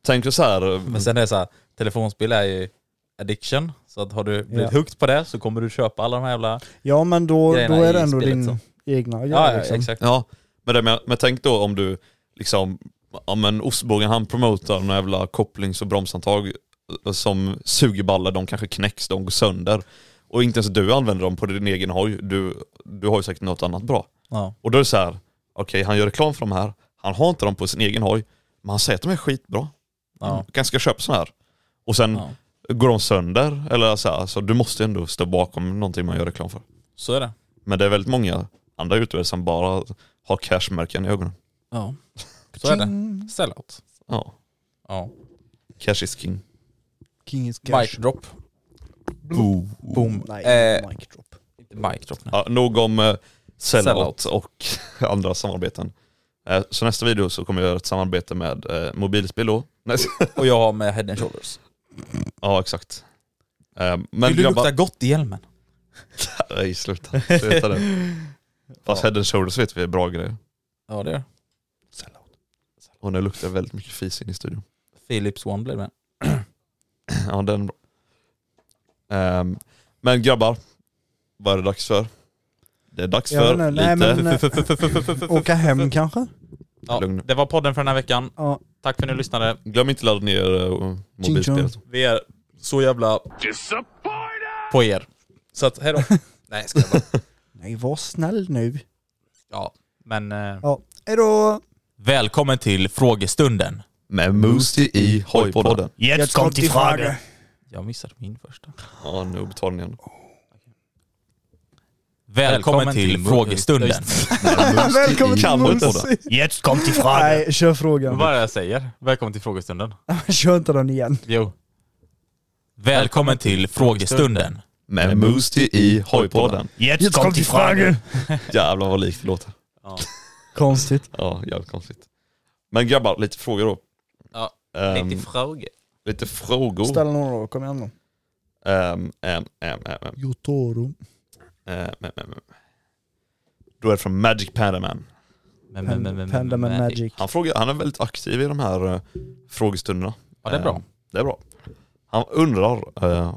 Speaker 3: Tänk dig så här, eh,
Speaker 5: Men sen är det så här, telefonspel är ju addiction, så att har du blivit
Speaker 4: Ja.
Speaker 5: hooked på det så kommer du köpa alla de här jävla...
Speaker 4: Ja men då, då
Speaker 5: Grejerna
Speaker 4: är det
Speaker 5: i
Speaker 4: ändå
Speaker 5: spelet
Speaker 4: din
Speaker 5: så.
Speaker 4: egna
Speaker 5: Ja, ja
Speaker 4: liksom.
Speaker 5: exakt.
Speaker 3: Ja, men, det, men, men tänk då om du liksom, ja men ostbågen han promotar några jävla kopplings och bromshandtag eh, som suger baller, de kanske knäcks, de går sönder. Och inte ens du använder dem på din egen hoj, du, du har ju säkert något annat bra.
Speaker 5: Ja.
Speaker 3: Och då är det så här, okej han gör reklam för de här, han har inte dem på sin egen hoj, men han säger att de är skitbra.
Speaker 5: Ja.
Speaker 3: Kanske ska köpa sådana här. Och sen
Speaker 5: Ja.
Speaker 3: går de sönder, eller så här, så du måste ändå stå bakom någonting man gör reklam för.
Speaker 5: Så är det.
Speaker 3: Men det är väldigt många andra utövare som bara har cashmärken i ögonen.
Speaker 5: Ja. Så är det. Sellout.
Speaker 3: Ja.
Speaker 5: Ja.
Speaker 3: Cash is king.
Speaker 4: King is cash.
Speaker 5: Mic drop.
Speaker 3: Boom.
Speaker 5: Boom.
Speaker 4: Nej,
Speaker 5: Eh,
Speaker 4: mic drop.
Speaker 5: inte mic drop nu.
Speaker 3: Ja, nog om eh, sellout
Speaker 5: Sellout.
Speaker 3: och [LAUGHS] andra samarbeten. Eh, så nästa video så kommer jag göra ett samarbete med eh, mobilspel då. Nej,
Speaker 5: Och jag har med head and shoulders.
Speaker 3: [LAUGHS] ja exakt. Eh, men
Speaker 5: Vill du lukta
Speaker 3: grabbar...
Speaker 5: gott i hjälmen?
Speaker 3: Nej sluta. sluta
Speaker 5: [LAUGHS]
Speaker 3: det. Fast head and shoulders vet vi är bra grejer.
Speaker 5: Ja det är
Speaker 3: Sellout. Och nu luktar det väldigt mycket fis in i studion.
Speaker 5: Philips One blev det.
Speaker 3: [CLEARS THROAT] ja den är bra. Ehm, men grabbar, vad är det dags för? Det är dags
Speaker 4: Jag
Speaker 3: för
Speaker 4: vet inte,
Speaker 3: lite...
Speaker 4: nej, men, eh, Åka hem kanske?
Speaker 5: Ja,
Speaker 3: Lugn.
Speaker 5: det var podden för den här veckan.
Speaker 4: Ja.
Speaker 5: Tack för att ni lyssnade.
Speaker 3: [LAUGHS] Glöm inte ladda ner eh, mobilspelet.
Speaker 5: Vi är så jävla på er. Så att
Speaker 4: [LAUGHS]
Speaker 5: hejdå. Nej ska jag bara.
Speaker 4: Nej, var snäll nu.
Speaker 5: Ja, men eh,
Speaker 4: Ja, hejdå!
Speaker 5: välkommen till frågestunden.
Speaker 3: Med Moostie i Hojpodden.
Speaker 4: Jetzt kommt die Frage. [LAUGHS]
Speaker 5: Jag missade min första.
Speaker 3: Ja, nu betalar ni igen.
Speaker 5: Välkommen, till, frågestunden.
Speaker 4: Välkommen till
Speaker 3: Kan du inte
Speaker 4: Mumsi!
Speaker 9: Jetzt kommt die Frage.
Speaker 4: Nej, kör frågan.
Speaker 5: Vad är det jag säger? Välkommen till frågestunden.
Speaker 4: Kör inte den igen.
Speaker 5: Jo. Välkommen till frågestunden.
Speaker 3: Med Moostie i Hojpodden.
Speaker 9: Jetzt, kommt die Frage.
Speaker 3: Jävlar vad likt det låter.
Speaker 4: Konstigt.
Speaker 3: Ja, jävligt konstigt. Men grabbar, lite frågor då.
Speaker 5: Ja,
Speaker 3: Ehm,
Speaker 5: frågor.
Speaker 3: lite frågor.
Speaker 4: Ställ några då, kom igen då.
Speaker 3: Ehm, ehm, ehm, ehm, ehm,
Speaker 4: Jag tar dem.
Speaker 3: ehm, ehm, ehm. Då är det från Magic Panda Man.
Speaker 5: Men, men, men, men,
Speaker 4: Pand-
Speaker 5: men,
Speaker 4: Pandem and
Speaker 5: men-
Speaker 4: Mm, Magic.
Speaker 3: Han, frågar, han är väldigt aktiv i de här eh, frågestunderna.
Speaker 5: Ja, det är bra.
Speaker 3: Eh, det är bra. Han undrar eh,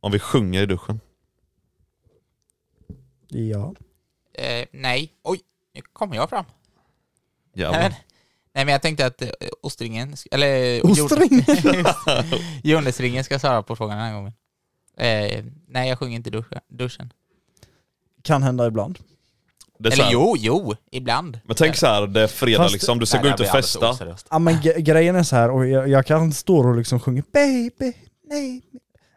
Speaker 3: om vi sjunger i duschen.
Speaker 4: Ja.
Speaker 10: Eh, nej. Oj, nu kommer jag fram. Nej men,
Speaker 3: Jävlar.
Speaker 10: nej, men jag tänkte att eh, ostringen, sk- eller...
Speaker 4: Ostringen?
Speaker 10: Jord- Jonesringen ska svara på frågan den här gången. Eh, nej, jag sjunger inte i duschen. duschen.
Speaker 4: Kan hända ibland.
Speaker 3: Det är så
Speaker 10: Eller
Speaker 3: här-
Speaker 10: jo, jo, ibland.
Speaker 3: Men tänk så här, det är fredag
Speaker 4: Fast-
Speaker 3: liksom, du ska
Speaker 5: Nej,
Speaker 3: gå
Speaker 5: det här
Speaker 3: ut och
Speaker 5: blir alldeles
Speaker 3: festa.
Speaker 5: oseriöst.
Speaker 4: Ja men ge- grejen är så här, och jag, jag kan stå och liksom sjunga baby, nej.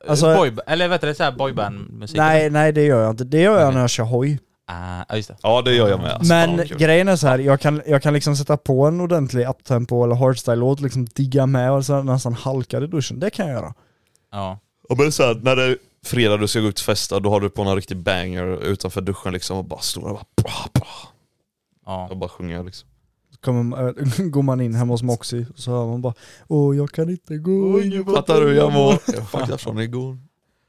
Speaker 4: Alltså-
Speaker 5: Boy, eller vet du, det är såhär boybandmusik?
Speaker 4: Nej, nej det gör jag inte. Det gör jag
Speaker 5: Okej.
Speaker 4: när jag kör hoj.
Speaker 5: Ah, ja, just det.
Speaker 3: Ja det gör jag med. Alltså, fan,
Speaker 4: Men
Speaker 3: vad kul.
Speaker 4: grejen är så här, jag kan, jag kan liksom sätta på en ordentlig uptempo eller hardstyle-låt, liksom digga med och så nästan halka i duschen. Det kan jag göra.
Speaker 5: Ja.
Speaker 3: Ja, men det är så här, när det är fredag du ska gå ut och festa, då har du på någon riktig banger utanför duschen liksom och bara står där och bara, bah, bah,
Speaker 5: ja.
Speaker 3: och bara sjunger liksom.
Speaker 4: Så kommer, äh, går man in hemma hos Moxie och så hör man bara Åh jag kan inte gå in i
Speaker 3: Fattar du hur jag mår? Jag fuckade från igår.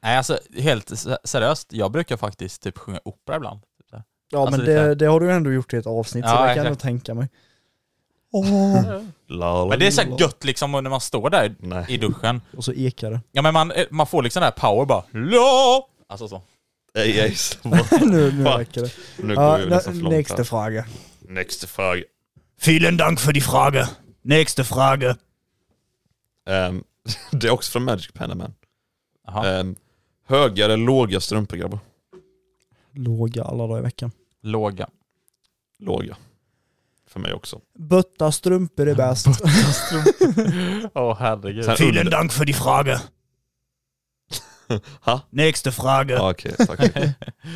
Speaker 5: Nej alltså helt se- seriöst, jag brukar faktiskt typ sjunga opera ibland. Typ så här.
Speaker 4: Ja
Speaker 5: Alltså,
Speaker 4: men
Speaker 5: det är så
Speaker 4: det,
Speaker 5: här-
Speaker 4: det har du ju ändå gjort i ett avsnitt så
Speaker 5: Ja,
Speaker 4: det kan jag
Speaker 5: exakt.
Speaker 4: nog tänka mig. Åh.
Speaker 3: La, la,
Speaker 5: Men det är så
Speaker 3: la,
Speaker 5: här
Speaker 3: la.
Speaker 5: gött liksom när man står där
Speaker 3: Nej.
Speaker 5: i duschen.
Speaker 4: Och så ekar det.
Speaker 5: Ja men man, man får liksom den här power bara LA! Alltså så.
Speaker 3: Ej, ej, så-
Speaker 4: nu nu
Speaker 3: Fuck.
Speaker 4: räcker det.
Speaker 3: Nu går vi
Speaker 4: Ja,
Speaker 3: nästan för långt
Speaker 4: nästa
Speaker 3: här.
Speaker 4: fråga.
Speaker 3: Nästa fråga.
Speaker 9: Vielen Dank für die Frage. Nächste Frage.
Speaker 3: Ehm, [LAUGHS] det är också från Magic Panaman.
Speaker 5: Jaha.
Speaker 3: Um, höga eller låga strumpor grabbar?
Speaker 4: Låga alla dagar i veckan.
Speaker 5: Låga.
Speaker 3: Låga. För mig också.
Speaker 4: Bötta strumpor är bäst.
Speaker 5: Åh oh, herregud.
Speaker 3: Sen
Speaker 9: Vielen
Speaker 3: under-
Speaker 9: Dank für die Frage.
Speaker 3: Ha?
Speaker 9: Nächste Frage.
Speaker 3: Ja, okej,
Speaker 5: [LAUGHS]
Speaker 3: tack.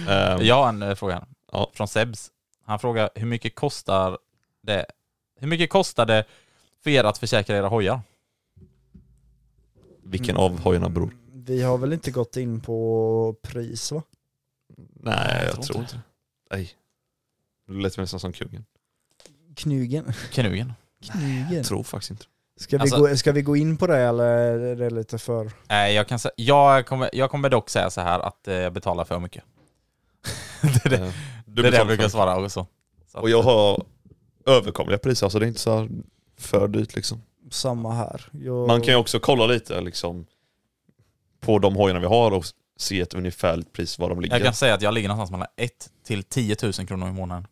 Speaker 3: Ehm,
Speaker 5: Jag har en eh, fråga.
Speaker 3: Ja.
Speaker 5: Från Sebs. Han frågar hur mycket kostar det Hur mycket kostar det för er att försäkra era hojar?
Speaker 3: Vilken av hojarna bror?
Speaker 4: Vi har väl inte gått in på pris va?
Speaker 3: Nej, jag, tror inte Nej. Du lät nästan som kungen.
Speaker 4: Knugen.
Speaker 5: Knugen.
Speaker 4: Knugen.
Speaker 3: Jag tror faktiskt inte.
Speaker 4: Ska vi,
Speaker 5: Alltså-
Speaker 4: gå, ska vi gå in på det eller är det lite för...
Speaker 5: Nej, jag, kan, sä- jag, kommer, jag kommer dock säga så här att eh, jag betalar för mycket. [LAUGHS] det är det,
Speaker 3: Ehm, Du
Speaker 5: det, är det jag
Speaker 3: betalar
Speaker 5: brukar
Speaker 3: för
Speaker 5: svara också. Så att-
Speaker 3: Och jag har överkomliga priser, alltså det är inte så här för dyrt liksom.
Speaker 4: Samma här. Jag...
Speaker 3: Man kan ju också kolla lite liksom på de hojarna vi har och se ett ungefärligt pris var de ligger.
Speaker 5: Jag kan säga att jag ligger någonstans mellan 1 till 10 000 kronor i månaden.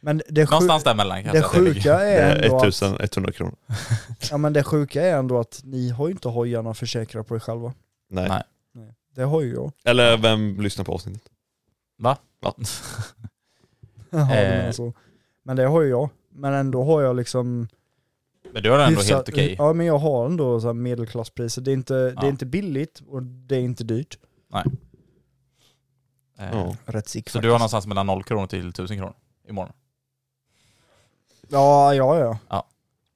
Speaker 4: Men det, sju...
Speaker 5: Någonstans däremellan kanske.
Speaker 4: det
Speaker 5: att jag ligger.
Speaker 4: sjuka
Speaker 3: Det
Speaker 4: är ändå
Speaker 3: är
Speaker 4: att,
Speaker 3: 1100 kronor.
Speaker 4: ja, men det sjuka är ändå att ni har ju inte hojarna försäkrade på er själva.
Speaker 3: Nej.
Speaker 5: Nej.
Speaker 4: Det har ju jag.
Speaker 3: Eller vem lyssnar på avsnittet?
Speaker 4: Jaha, du menar
Speaker 5: Eh.
Speaker 4: så. Men alltså, det har ju jag. Men ändå har jag liksom...
Speaker 5: Men du har ändå
Speaker 4: hyfsat-
Speaker 5: helt okej.
Speaker 4: Ja men jag har ändå så här medelklasspriser. Det är, inte, det
Speaker 5: Ja.
Speaker 4: är inte billigt och det är inte dyrt.
Speaker 5: Eh,
Speaker 3: Ja.
Speaker 4: Rätt sick
Speaker 5: Så du har någonstans mellan 0 kronor till 1000 kronor i månaden.
Speaker 4: Ja, ja, ja.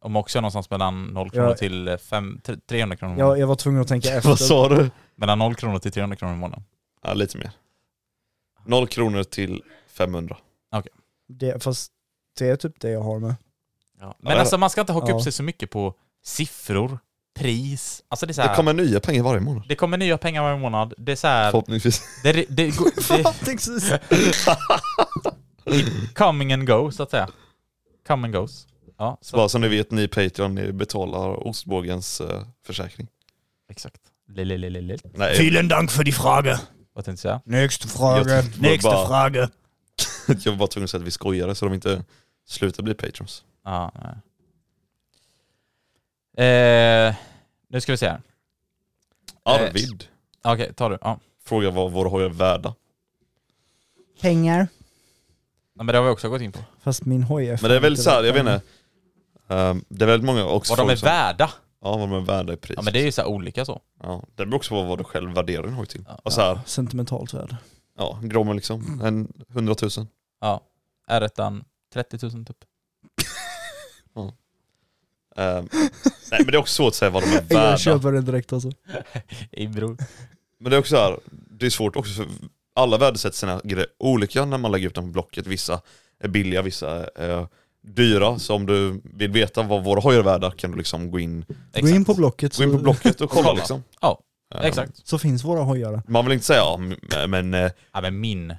Speaker 5: Om också någonstans mellan 0 kronor
Speaker 4: Ja.
Speaker 5: till eh, fem- tre- 300 kronor i månaden.
Speaker 4: Jag, jag var tvungen att tänka efter.
Speaker 3: Vad sa du?
Speaker 5: Mellan 0 kronor till 300 kronor i månaden.
Speaker 3: Ja, lite mer. 0 kronor till 500.
Speaker 4: Det, fast det är typ det jag har med.
Speaker 5: Men
Speaker 3: Ja.
Speaker 5: alltså man ska inte haka
Speaker 4: Ja.
Speaker 5: upp sig så mycket på siffror, pris. Alltså det är så här,
Speaker 3: Det kommer nya pengar varje månad.
Speaker 5: nya pengar varje månad. Det är så här,
Speaker 3: Förhoppningsvis.
Speaker 5: det, det, det,
Speaker 4: [LAUGHS]
Speaker 5: går- det,
Speaker 4: Precis.
Speaker 5: [LAUGHS] coming and go så att säga. Come and goes. Ja, så,
Speaker 3: Bara så ni vet, ni Patreon, ni betalar ostbågens eh, försäkring.
Speaker 5: exakt. Lelelelele.
Speaker 3: Nej,
Speaker 9: Vielen Dank für die Frage.
Speaker 5: Vad tänkte jag säga?
Speaker 4: Nästa
Speaker 3: jag,
Speaker 4: fråga.
Speaker 3: jag,
Speaker 9: Nächste
Speaker 3: bara,
Speaker 9: Frage.
Speaker 3: [LAUGHS] jag var bara tvungen att säga att vi skojade så de inte slutar bli patrons.
Speaker 5: Ja, nej. Eh, nu ska vi se här. Eh,
Speaker 3: Arvid
Speaker 5: Okej, tar du. Ja.
Speaker 3: frågar vad våra hojar är värda.
Speaker 4: Pengar.
Speaker 5: Ja, Men det har vi också gått in på.
Speaker 4: Fast min hoj är
Speaker 3: Men det är väl
Speaker 4: inte
Speaker 3: såhär, jag
Speaker 4: värt
Speaker 3: vet inte. ehm, det är väldigt många också
Speaker 5: Vad de
Speaker 3: folk
Speaker 5: är
Speaker 3: som-
Speaker 5: värda.
Speaker 3: Ja, vad de är värda i pris.
Speaker 5: Ja men det är ju så här olika så.
Speaker 3: Ja, det beror också på vad du själv värderar din hoj till.
Speaker 5: Ja.
Speaker 3: Alltså här,
Speaker 4: Sentimentalt värde.
Speaker 3: ja, en Grommen liksom, en 100 000.
Speaker 5: Ja. R1 30 000 typ.
Speaker 3: Ehm, nej men det är också svårt att säga vad de är
Speaker 4: [LAUGHS] Jag
Speaker 3: värda.
Speaker 4: köper den direkt alltså.
Speaker 5: I bror.
Speaker 3: Men det är också så här, det är svårt också för alla värdesätter sina grejer olika när man lägger ut dem på Blocket. Vissa är billiga, vissa är eh, dyra. Så om du vill veta vad våra hojar är värda kan du liksom gå in,
Speaker 4: Gå in på Blocket
Speaker 3: gå in på
Speaker 4: så,
Speaker 3: Blocket och kolla
Speaker 5: kolla.
Speaker 3: liksom.
Speaker 5: Ja,
Speaker 3: Ehm,
Speaker 5: Exakt.
Speaker 4: så finns våra hojar där.
Speaker 3: Man vill inte säga, ja, men eh,
Speaker 5: Ja men min.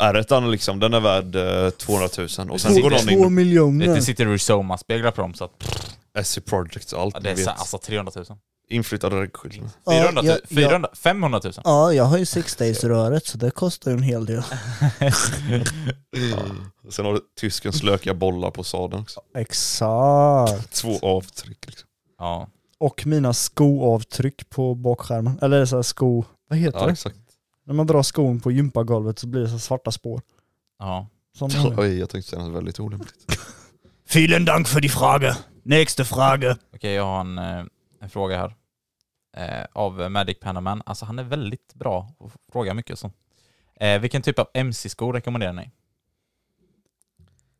Speaker 3: R1 liksom, den är värd eh, 200 000 och sen
Speaker 4: Två-
Speaker 3: går någon
Speaker 4: Två
Speaker 3: in
Speaker 4: miljoner.
Speaker 5: Det sitter Rusoma-speglar på dem så att pff,
Speaker 3: SC Projects och allt
Speaker 5: ja, det
Speaker 3: ni
Speaker 5: är så,
Speaker 3: vet.
Speaker 5: alltså 300 000.
Speaker 3: Inflyttade regskyltning.
Speaker 5: 400 000
Speaker 4: ja, ja.
Speaker 5: 400, 500 000.
Speaker 9: Ja, jag har ju six days-röret så det kostar ju en hel del.
Speaker 3: Sen har du tyskens lökiga bollar på sadeln också.
Speaker 4: Exakt.
Speaker 3: Två avtryck liksom.
Speaker 5: Ja.
Speaker 4: Och mina skoavtryck på bakskärmen. Eller så här sko... Vad heter
Speaker 3: Ja
Speaker 4: det?
Speaker 3: exakt.
Speaker 4: När man drar skon på gympagolvet så blir det så här svarta spår.
Speaker 5: ja.
Speaker 4: Som
Speaker 3: Oj, jag tänkte säga något väldigt olämpligt.
Speaker 9: Vielen Dank för die Frage. Nächste Frage.
Speaker 5: Okej, jag har en, eh, en fråga här. Eh, av Magic Panaman. Alltså han är väldigt bra och frågar mycket och sånt. Eh, vilken typ av MC-skor rekommenderar ni?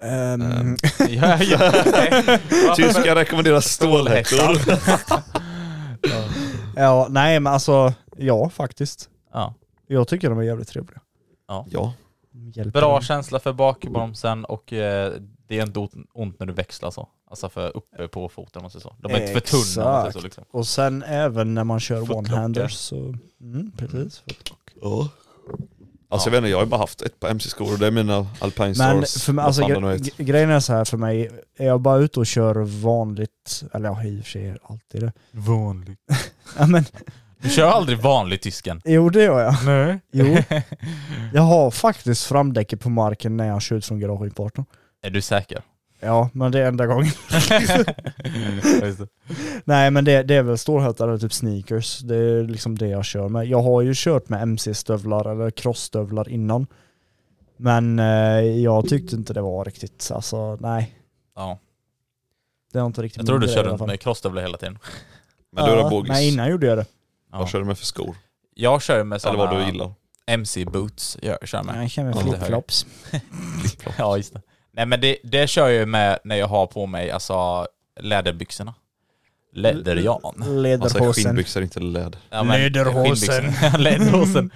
Speaker 4: Ehm,
Speaker 3: Ehm.
Speaker 5: ja, ja.
Speaker 3: [LAUGHS]
Speaker 5: [LAUGHS]
Speaker 3: Tyskar rekommenderar stålhäckor.
Speaker 4: ja, nej men alltså, ja faktiskt.
Speaker 5: ja.
Speaker 4: Jag tycker de är jävligt trevliga.
Speaker 3: Ja.
Speaker 4: Hjälper
Speaker 5: Bra
Speaker 4: mig.
Speaker 5: känsla för bakbromsen och eh, det är inte ont- ont när du växlar så. Alltså för uppe på foten om man säger så. De är inte för tunna om man säger så
Speaker 4: Exakt.
Speaker 5: liksom.
Speaker 4: Och sen även när man kör
Speaker 5: Footlocker.
Speaker 4: one-handers så... Mm, precis.
Speaker 3: ja. Alltså jag vet inte, jag har ju bara haft ett par MC-skor och det är mina Alpine
Speaker 4: Men
Speaker 3: Stars.
Speaker 4: för mig,
Speaker 3: vad
Speaker 4: alltså,
Speaker 3: fan de nu
Speaker 4: gre-
Speaker 3: heter.
Speaker 4: gre- grejen är så här för mig, är jag bara ute och kör vanligt, eller ja i och för sig är det alltid [LAUGHS] det.
Speaker 5: Vanligt.
Speaker 4: Ja men,
Speaker 5: Du kör aldrig vanlig tysken.
Speaker 4: jo det gör jag.
Speaker 5: Nej.
Speaker 4: Jo. Jag har faktiskt framdäcket på marken när jag kör ut från garagepartnern.
Speaker 5: Är du säker?
Speaker 4: Ja, men det är enda gången.
Speaker 5: Just det.
Speaker 4: [LAUGHS] Nej men det, det är väl stålhättar eller typ sneakers. Det är liksom det jag kör med. Jag har ju kört med mc-stövlar eller crossstövlar innan. Men eh, jag tyckte inte det var riktigt, alltså nej.
Speaker 5: ja.
Speaker 4: Det var inte riktigt
Speaker 5: Jag tror
Speaker 4: min
Speaker 5: du
Speaker 4: grej
Speaker 5: kör
Speaker 4: i alla
Speaker 5: runt
Speaker 4: fall.
Speaker 5: med crossstövlar hela tiden.
Speaker 3: Men du då
Speaker 4: Ja,
Speaker 3: Bogis,
Speaker 4: Nej innan gjorde jag det.
Speaker 5: Ja.
Speaker 3: vad kör du med för skor?
Speaker 5: Jag kör med
Speaker 3: Eller vad du
Speaker 5: sådana
Speaker 3: gillar?
Speaker 5: MC-boots. Jag kör med.
Speaker 4: Jag kör med
Speaker 5: Ja, det hör jag.
Speaker 4: flipflops.
Speaker 5: [LAUGHS] Ja, just det. Nej men det, det kör jag ju med när jag har på mig alltså läderbyxorna. Läderjan.
Speaker 3: Man säger
Speaker 4: Läderhosen.
Speaker 3: Alltså, skinnbyxor, inte läder.
Speaker 5: Ja, men-
Speaker 9: Läderhosen.
Speaker 5: skinnbyxor. [LAUGHS] Läderhosen.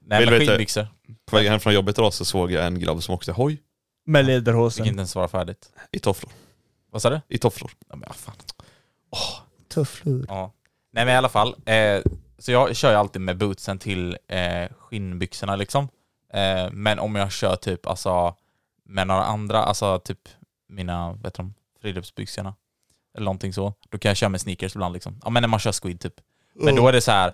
Speaker 5: Nej
Speaker 3: Vill veta-
Speaker 5: men skinnbyxor.
Speaker 3: På vägen hem från jobbet idag så såg jag en grabb som åkte hoj
Speaker 5: Fick
Speaker 4: Med läderhosen.
Speaker 5: inte ens svara färdigt.
Speaker 3: i tofflor.
Speaker 5: Vad sa du?
Speaker 3: I tofflor.
Speaker 5: Ja, men, ja, fan.
Speaker 4: Tufflur.
Speaker 5: Ja. Nej men i alla fall, eh, så jag kör ju alltid med bootsen till eh, skinnbyxorna liksom. Eh, men om jag kör typ alltså med några andra, alltså typ mina, vet du, friluftsbyxorna eller någonting så, då kan jag köra med sneakers ibland liksom. Ja men när man kör squid typ. Men
Speaker 3: Oh.
Speaker 5: då är det så här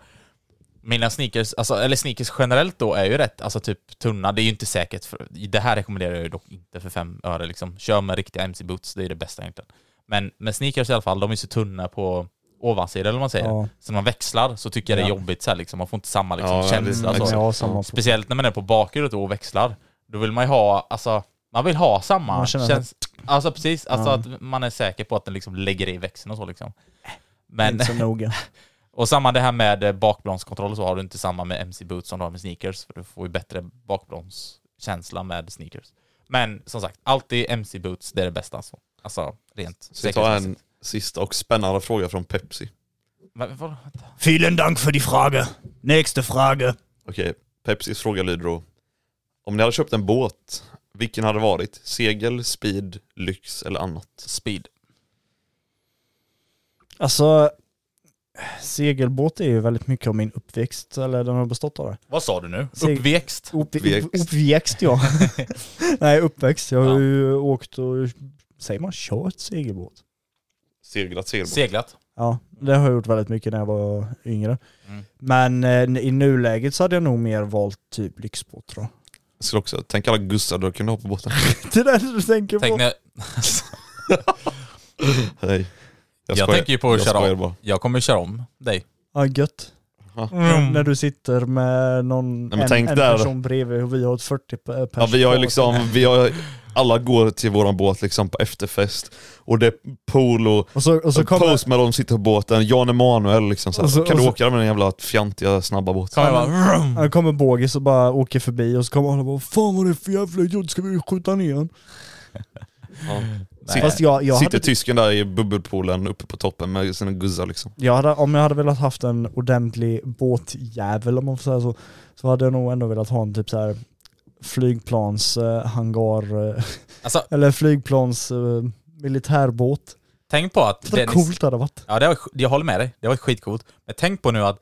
Speaker 5: mina sneakers, alltså, eller sneakers generellt då är ju rätt, alltså typ tunna, det är ju inte säkert. För, det här rekommenderar jag ju dock inte för fem öre liksom. Kör med riktiga MC-boots, det är det bästa egentligen. Men med sneakers i alla fall, de är så tunna på ovansidan eller vad man säger.
Speaker 4: Ja.
Speaker 5: Så när man växlar så tycker jag det är jobbigt så här, liksom. man får inte samma liksom,
Speaker 3: Ja, det-
Speaker 5: känsla.
Speaker 3: exakt.
Speaker 5: så.
Speaker 4: Ja, samma på.
Speaker 5: Speciellt när man är på bakhjulet och växlar. Då vill man ju ha, alltså, man vill ha samma
Speaker 4: Man känner
Speaker 5: känsla. Alltså precis, alltså att man är säker på att den liksom lägger i växeln och så liksom. Men,
Speaker 4: Äh, Inte så noga.
Speaker 5: [LAUGHS] och samma det här med eh, bakbromskontroll så har du inte samma med MC-boots som du har med sneakers. För du får ju bättre bakbromskänsla med sneakers. Men som sagt, alltid MC-boots, det är det bästa alltså. Alltså rent
Speaker 3: Så vi tar en
Speaker 5: säkerhetsmässigt.
Speaker 3: sista och spännande fråga från Pepsi.
Speaker 5: Men, vad-
Speaker 9: Vielen Dank för die Frage. Nächste Frage.
Speaker 3: Okej, Pepsis fråga lyder då. Om ni hade köpt en båt, vilken hade det varit? Segel, speed, lyx eller annat?
Speaker 5: Speed.
Speaker 4: Alltså, segelbåt är ju väldigt mycket av min uppväxt, eller den har bestått av det.
Speaker 5: Vad sa du nu?
Speaker 4: Seg-
Speaker 5: Uppväxt?
Speaker 4: Upp,
Speaker 3: Växt.
Speaker 4: upp, uppväxt
Speaker 3: [LAUGHS]
Speaker 4: ja. Nej, uppväxt. Jag har
Speaker 5: Ja.
Speaker 4: ju åkt och, säger man kört segelbåt?
Speaker 3: Seglat segelbåt.
Speaker 5: Seglat?
Speaker 4: Ja, det har jag gjort väldigt mycket när jag var yngre.
Speaker 5: Mm.
Speaker 4: Men eh, i nuläget så hade jag nog mer valt typ lyxbåt tror jag.
Speaker 3: Jag skulle också, tänk alla gussar du kunde ha på
Speaker 5: [LAUGHS]
Speaker 3: båten.
Speaker 4: Det där du tänker
Speaker 5: Tänk
Speaker 4: på.
Speaker 5: när,
Speaker 3: Nej.
Speaker 5: Jag tänker ju på att
Speaker 3: jag
Speaker 5: köra
Speaker 3: skojar
Speaker 5: om.
Speaker 3: bara.
Speaker 5: Jag kommer köra om dig.
Speaker 4: Ja, gött.
Speaker 3: Ja.
Speaker 4: När du sitter med någon,
Speaker 3: men
Speaker 4: en,
Speaker 3: tänk
Speaker 4: en
Speaker 3: där.
Speaker 4: person bredvid och vi har ett 40 pe- pers.
Speaker 3: Ja, vi har ju
Speaker 4: kvar.
Speaker 3: liksom, vi har, alla går till våran båt liksom på efterfest. Och det är polo,
Speaker 4: Och så, och så kommer...
Speaker 3: Post Malone sitter på båten, Jan Emanuel liksom så här.
Speaker 4: Och så-
Speaker 3: Kan
Speaker 4: och
Speaker 3: du
Speaker 4: så-
Speaker 3: åka med den jävla fjantiga snabba båten?
Speaker 5: Kommer jag bara, "Vroom."
Speaker 4: Han kommer bågis och bara åker förbi och så kommer alla och bara Fan vad är det för jävla idiot, ska vi skjuta ner han?
Speaker 5: Nej.
Speaker 4: Fast jag, jag,
Speaker 3: sitter
Speaker 4: hade, typ-
Speaker 3: tysken där i bubbelpoolen uppe på toppen med sina guzzar liksom.
Speaker 4: jag hade, om jag hade velat haft en ordentlig båtjävel om man får säga så, så hade jag nog ändå velat ha en typ så här flygplans eh, hangar, eh,
Speaker 5: Alltså,
Speaker 4: eller flygplans eh, militärbåt.
Speaker 5: tänk på att
Speaker 4: Vad
Speaker 5: Dennis...
Speaker 4: coolt det hade varit.
Speaker 5: Ja, det var, jag håller med dig. Det var skitcoolt. Men tänk på nu att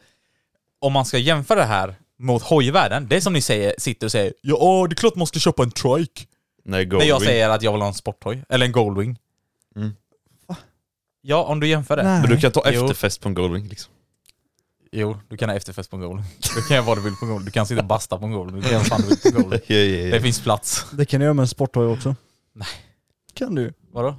Speaker 5: om man ska jämföra det här mot hojvärlden. Det är som ni säger, sitter och säger ja åh, det är klart man ska köpa en trike.
Speaker 3: Nej,
Speaker 5: När
Speaker 3: Goldwing.
Speaker 5: jag säger att jag vill ha en sporthoj, eller en Goldwing. Ja, om du jämför det.
Speaker 4: Nej.
Speaker 3: Men du kan ta
Speaker 5: Jo.
Speaker 3: efterfest på en Goldwing liksom.
Speaker 5: Jo, du kan ha efterfest på en Goldwing. [LAUGHS] Du kan göra vad du vill på en Goldwing. Du kan sitta och basta på en Goldwing. Du kan göra vad fan du vill på
Speaker 3: [LAUGHS]
Speaker 5: en Goldwing.
Speaker 3: [LAUGHS] Ja, ja,
Speaker 5: Det finns plats.
Speaker 4: Det kan du göra med en sporthoj också.
Speaker 5: Nej.
Speaker 4: Kan du.
Speaker 5: Vadå?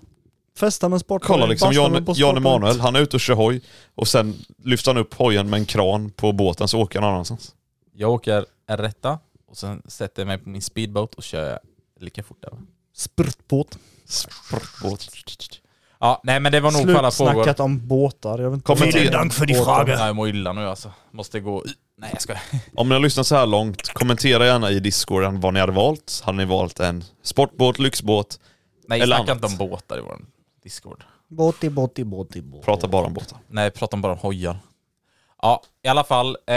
Speaker 4: Festa med en sporthoj.
Speaker 3: Kolla liksom,
Speaker 4: basta
Speaker 3: Jan,
Speaker 4: med på
Speaker 3: Jan
Speaker 4: sporthoj.
Speaker 3: Emanuel, han är ute och kör hoj och sen lyfter han upp hojen med en kran på båten så åker han någon annanstans.
Speaker 5: Jag åker en rätta och sen sätter jag mig på min speedboat och kör lika fort där. va?
Speaker 4: Spruttbåt.
Speaker 3: Båt.
Speaker 5: Ja, nej men det var nog för alla frågor.
Speaker 4: Slutsnackat om båtar. Jag vet inte
Speaker 3: Kommentera.
Speaker 9: Vielen Dank för die Frage.
Speaker 5: Ja, jag mår illa nu alltså. Måste gå... Nej jag skojar.
Speaker 3: Om ni har lyssnat så här långt, kommentera gärna i discorden vad ni hade valt. Hade ni valt en sportbåt, lyxbåt?
Speaker 5: Nej
Speaker 3: Eller
Speaker 5: snacka
Speaker 3: annat.
Speaker 5: inte om båtar i vår discord.
Speaker 4: Båti, båti, båti, båti.
Speaker 3: Prata bara om båtar.
Speaker 5: Nej prata bara om hojar. Ja i alla fall. Eh,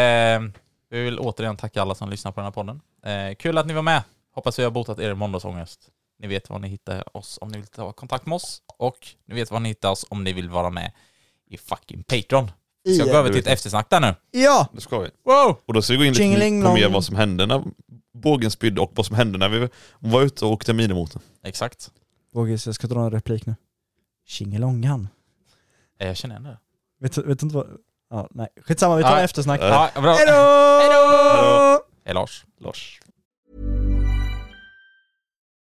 Speaker 5: vi vill återigen tacka alla som lyssnar på den här podden. Eh, kul att ni var med. Hoppas vi har botat er måndagsångest. Ni vet var ni hittar oss om ni vill ta kontakt med oss. Och ni vet var ni hittar oss om ni vill vara med i fucking Patreon. Vi ska
Speaker 4: Igen,
Speaker 5: gå över
Speaker 3: du
Speaker 5: till
Speaker 3: vet.
Speaker 5: ett eftersnack där nu.
Speaker 4: Ja!
Speaker 3: Det ska vi.
Speaker 5: Wow!
Speaker 3: Och då ska vi gå in lite
Speaker 4: Jingling
Speaker 3: på mer
Speaker 4: long.
Speaker 3: vad som hände när bågen spydde och vad som hände när vi var ute och åkte minimotorn.
Speaker 5: Exakt.
Speaker 4: Bogis, jag ska dra en replik nu. Tjingelongan.
Speaker 5: Eh, Jag känner igen det.
Speaker 4: Vet, vet inte vad... Ja, nej. Skitsamma, vi tar
Speaker 5: Nej.
Speaker 4: eftersnack.
Speaker 3: Ja.
Speaker 5: Ja, bra.
Speaker 4: Hejdå!
Speaker 3: Hejdå!
Speaker 5: Hej Lars.
Speaker 3: Lars.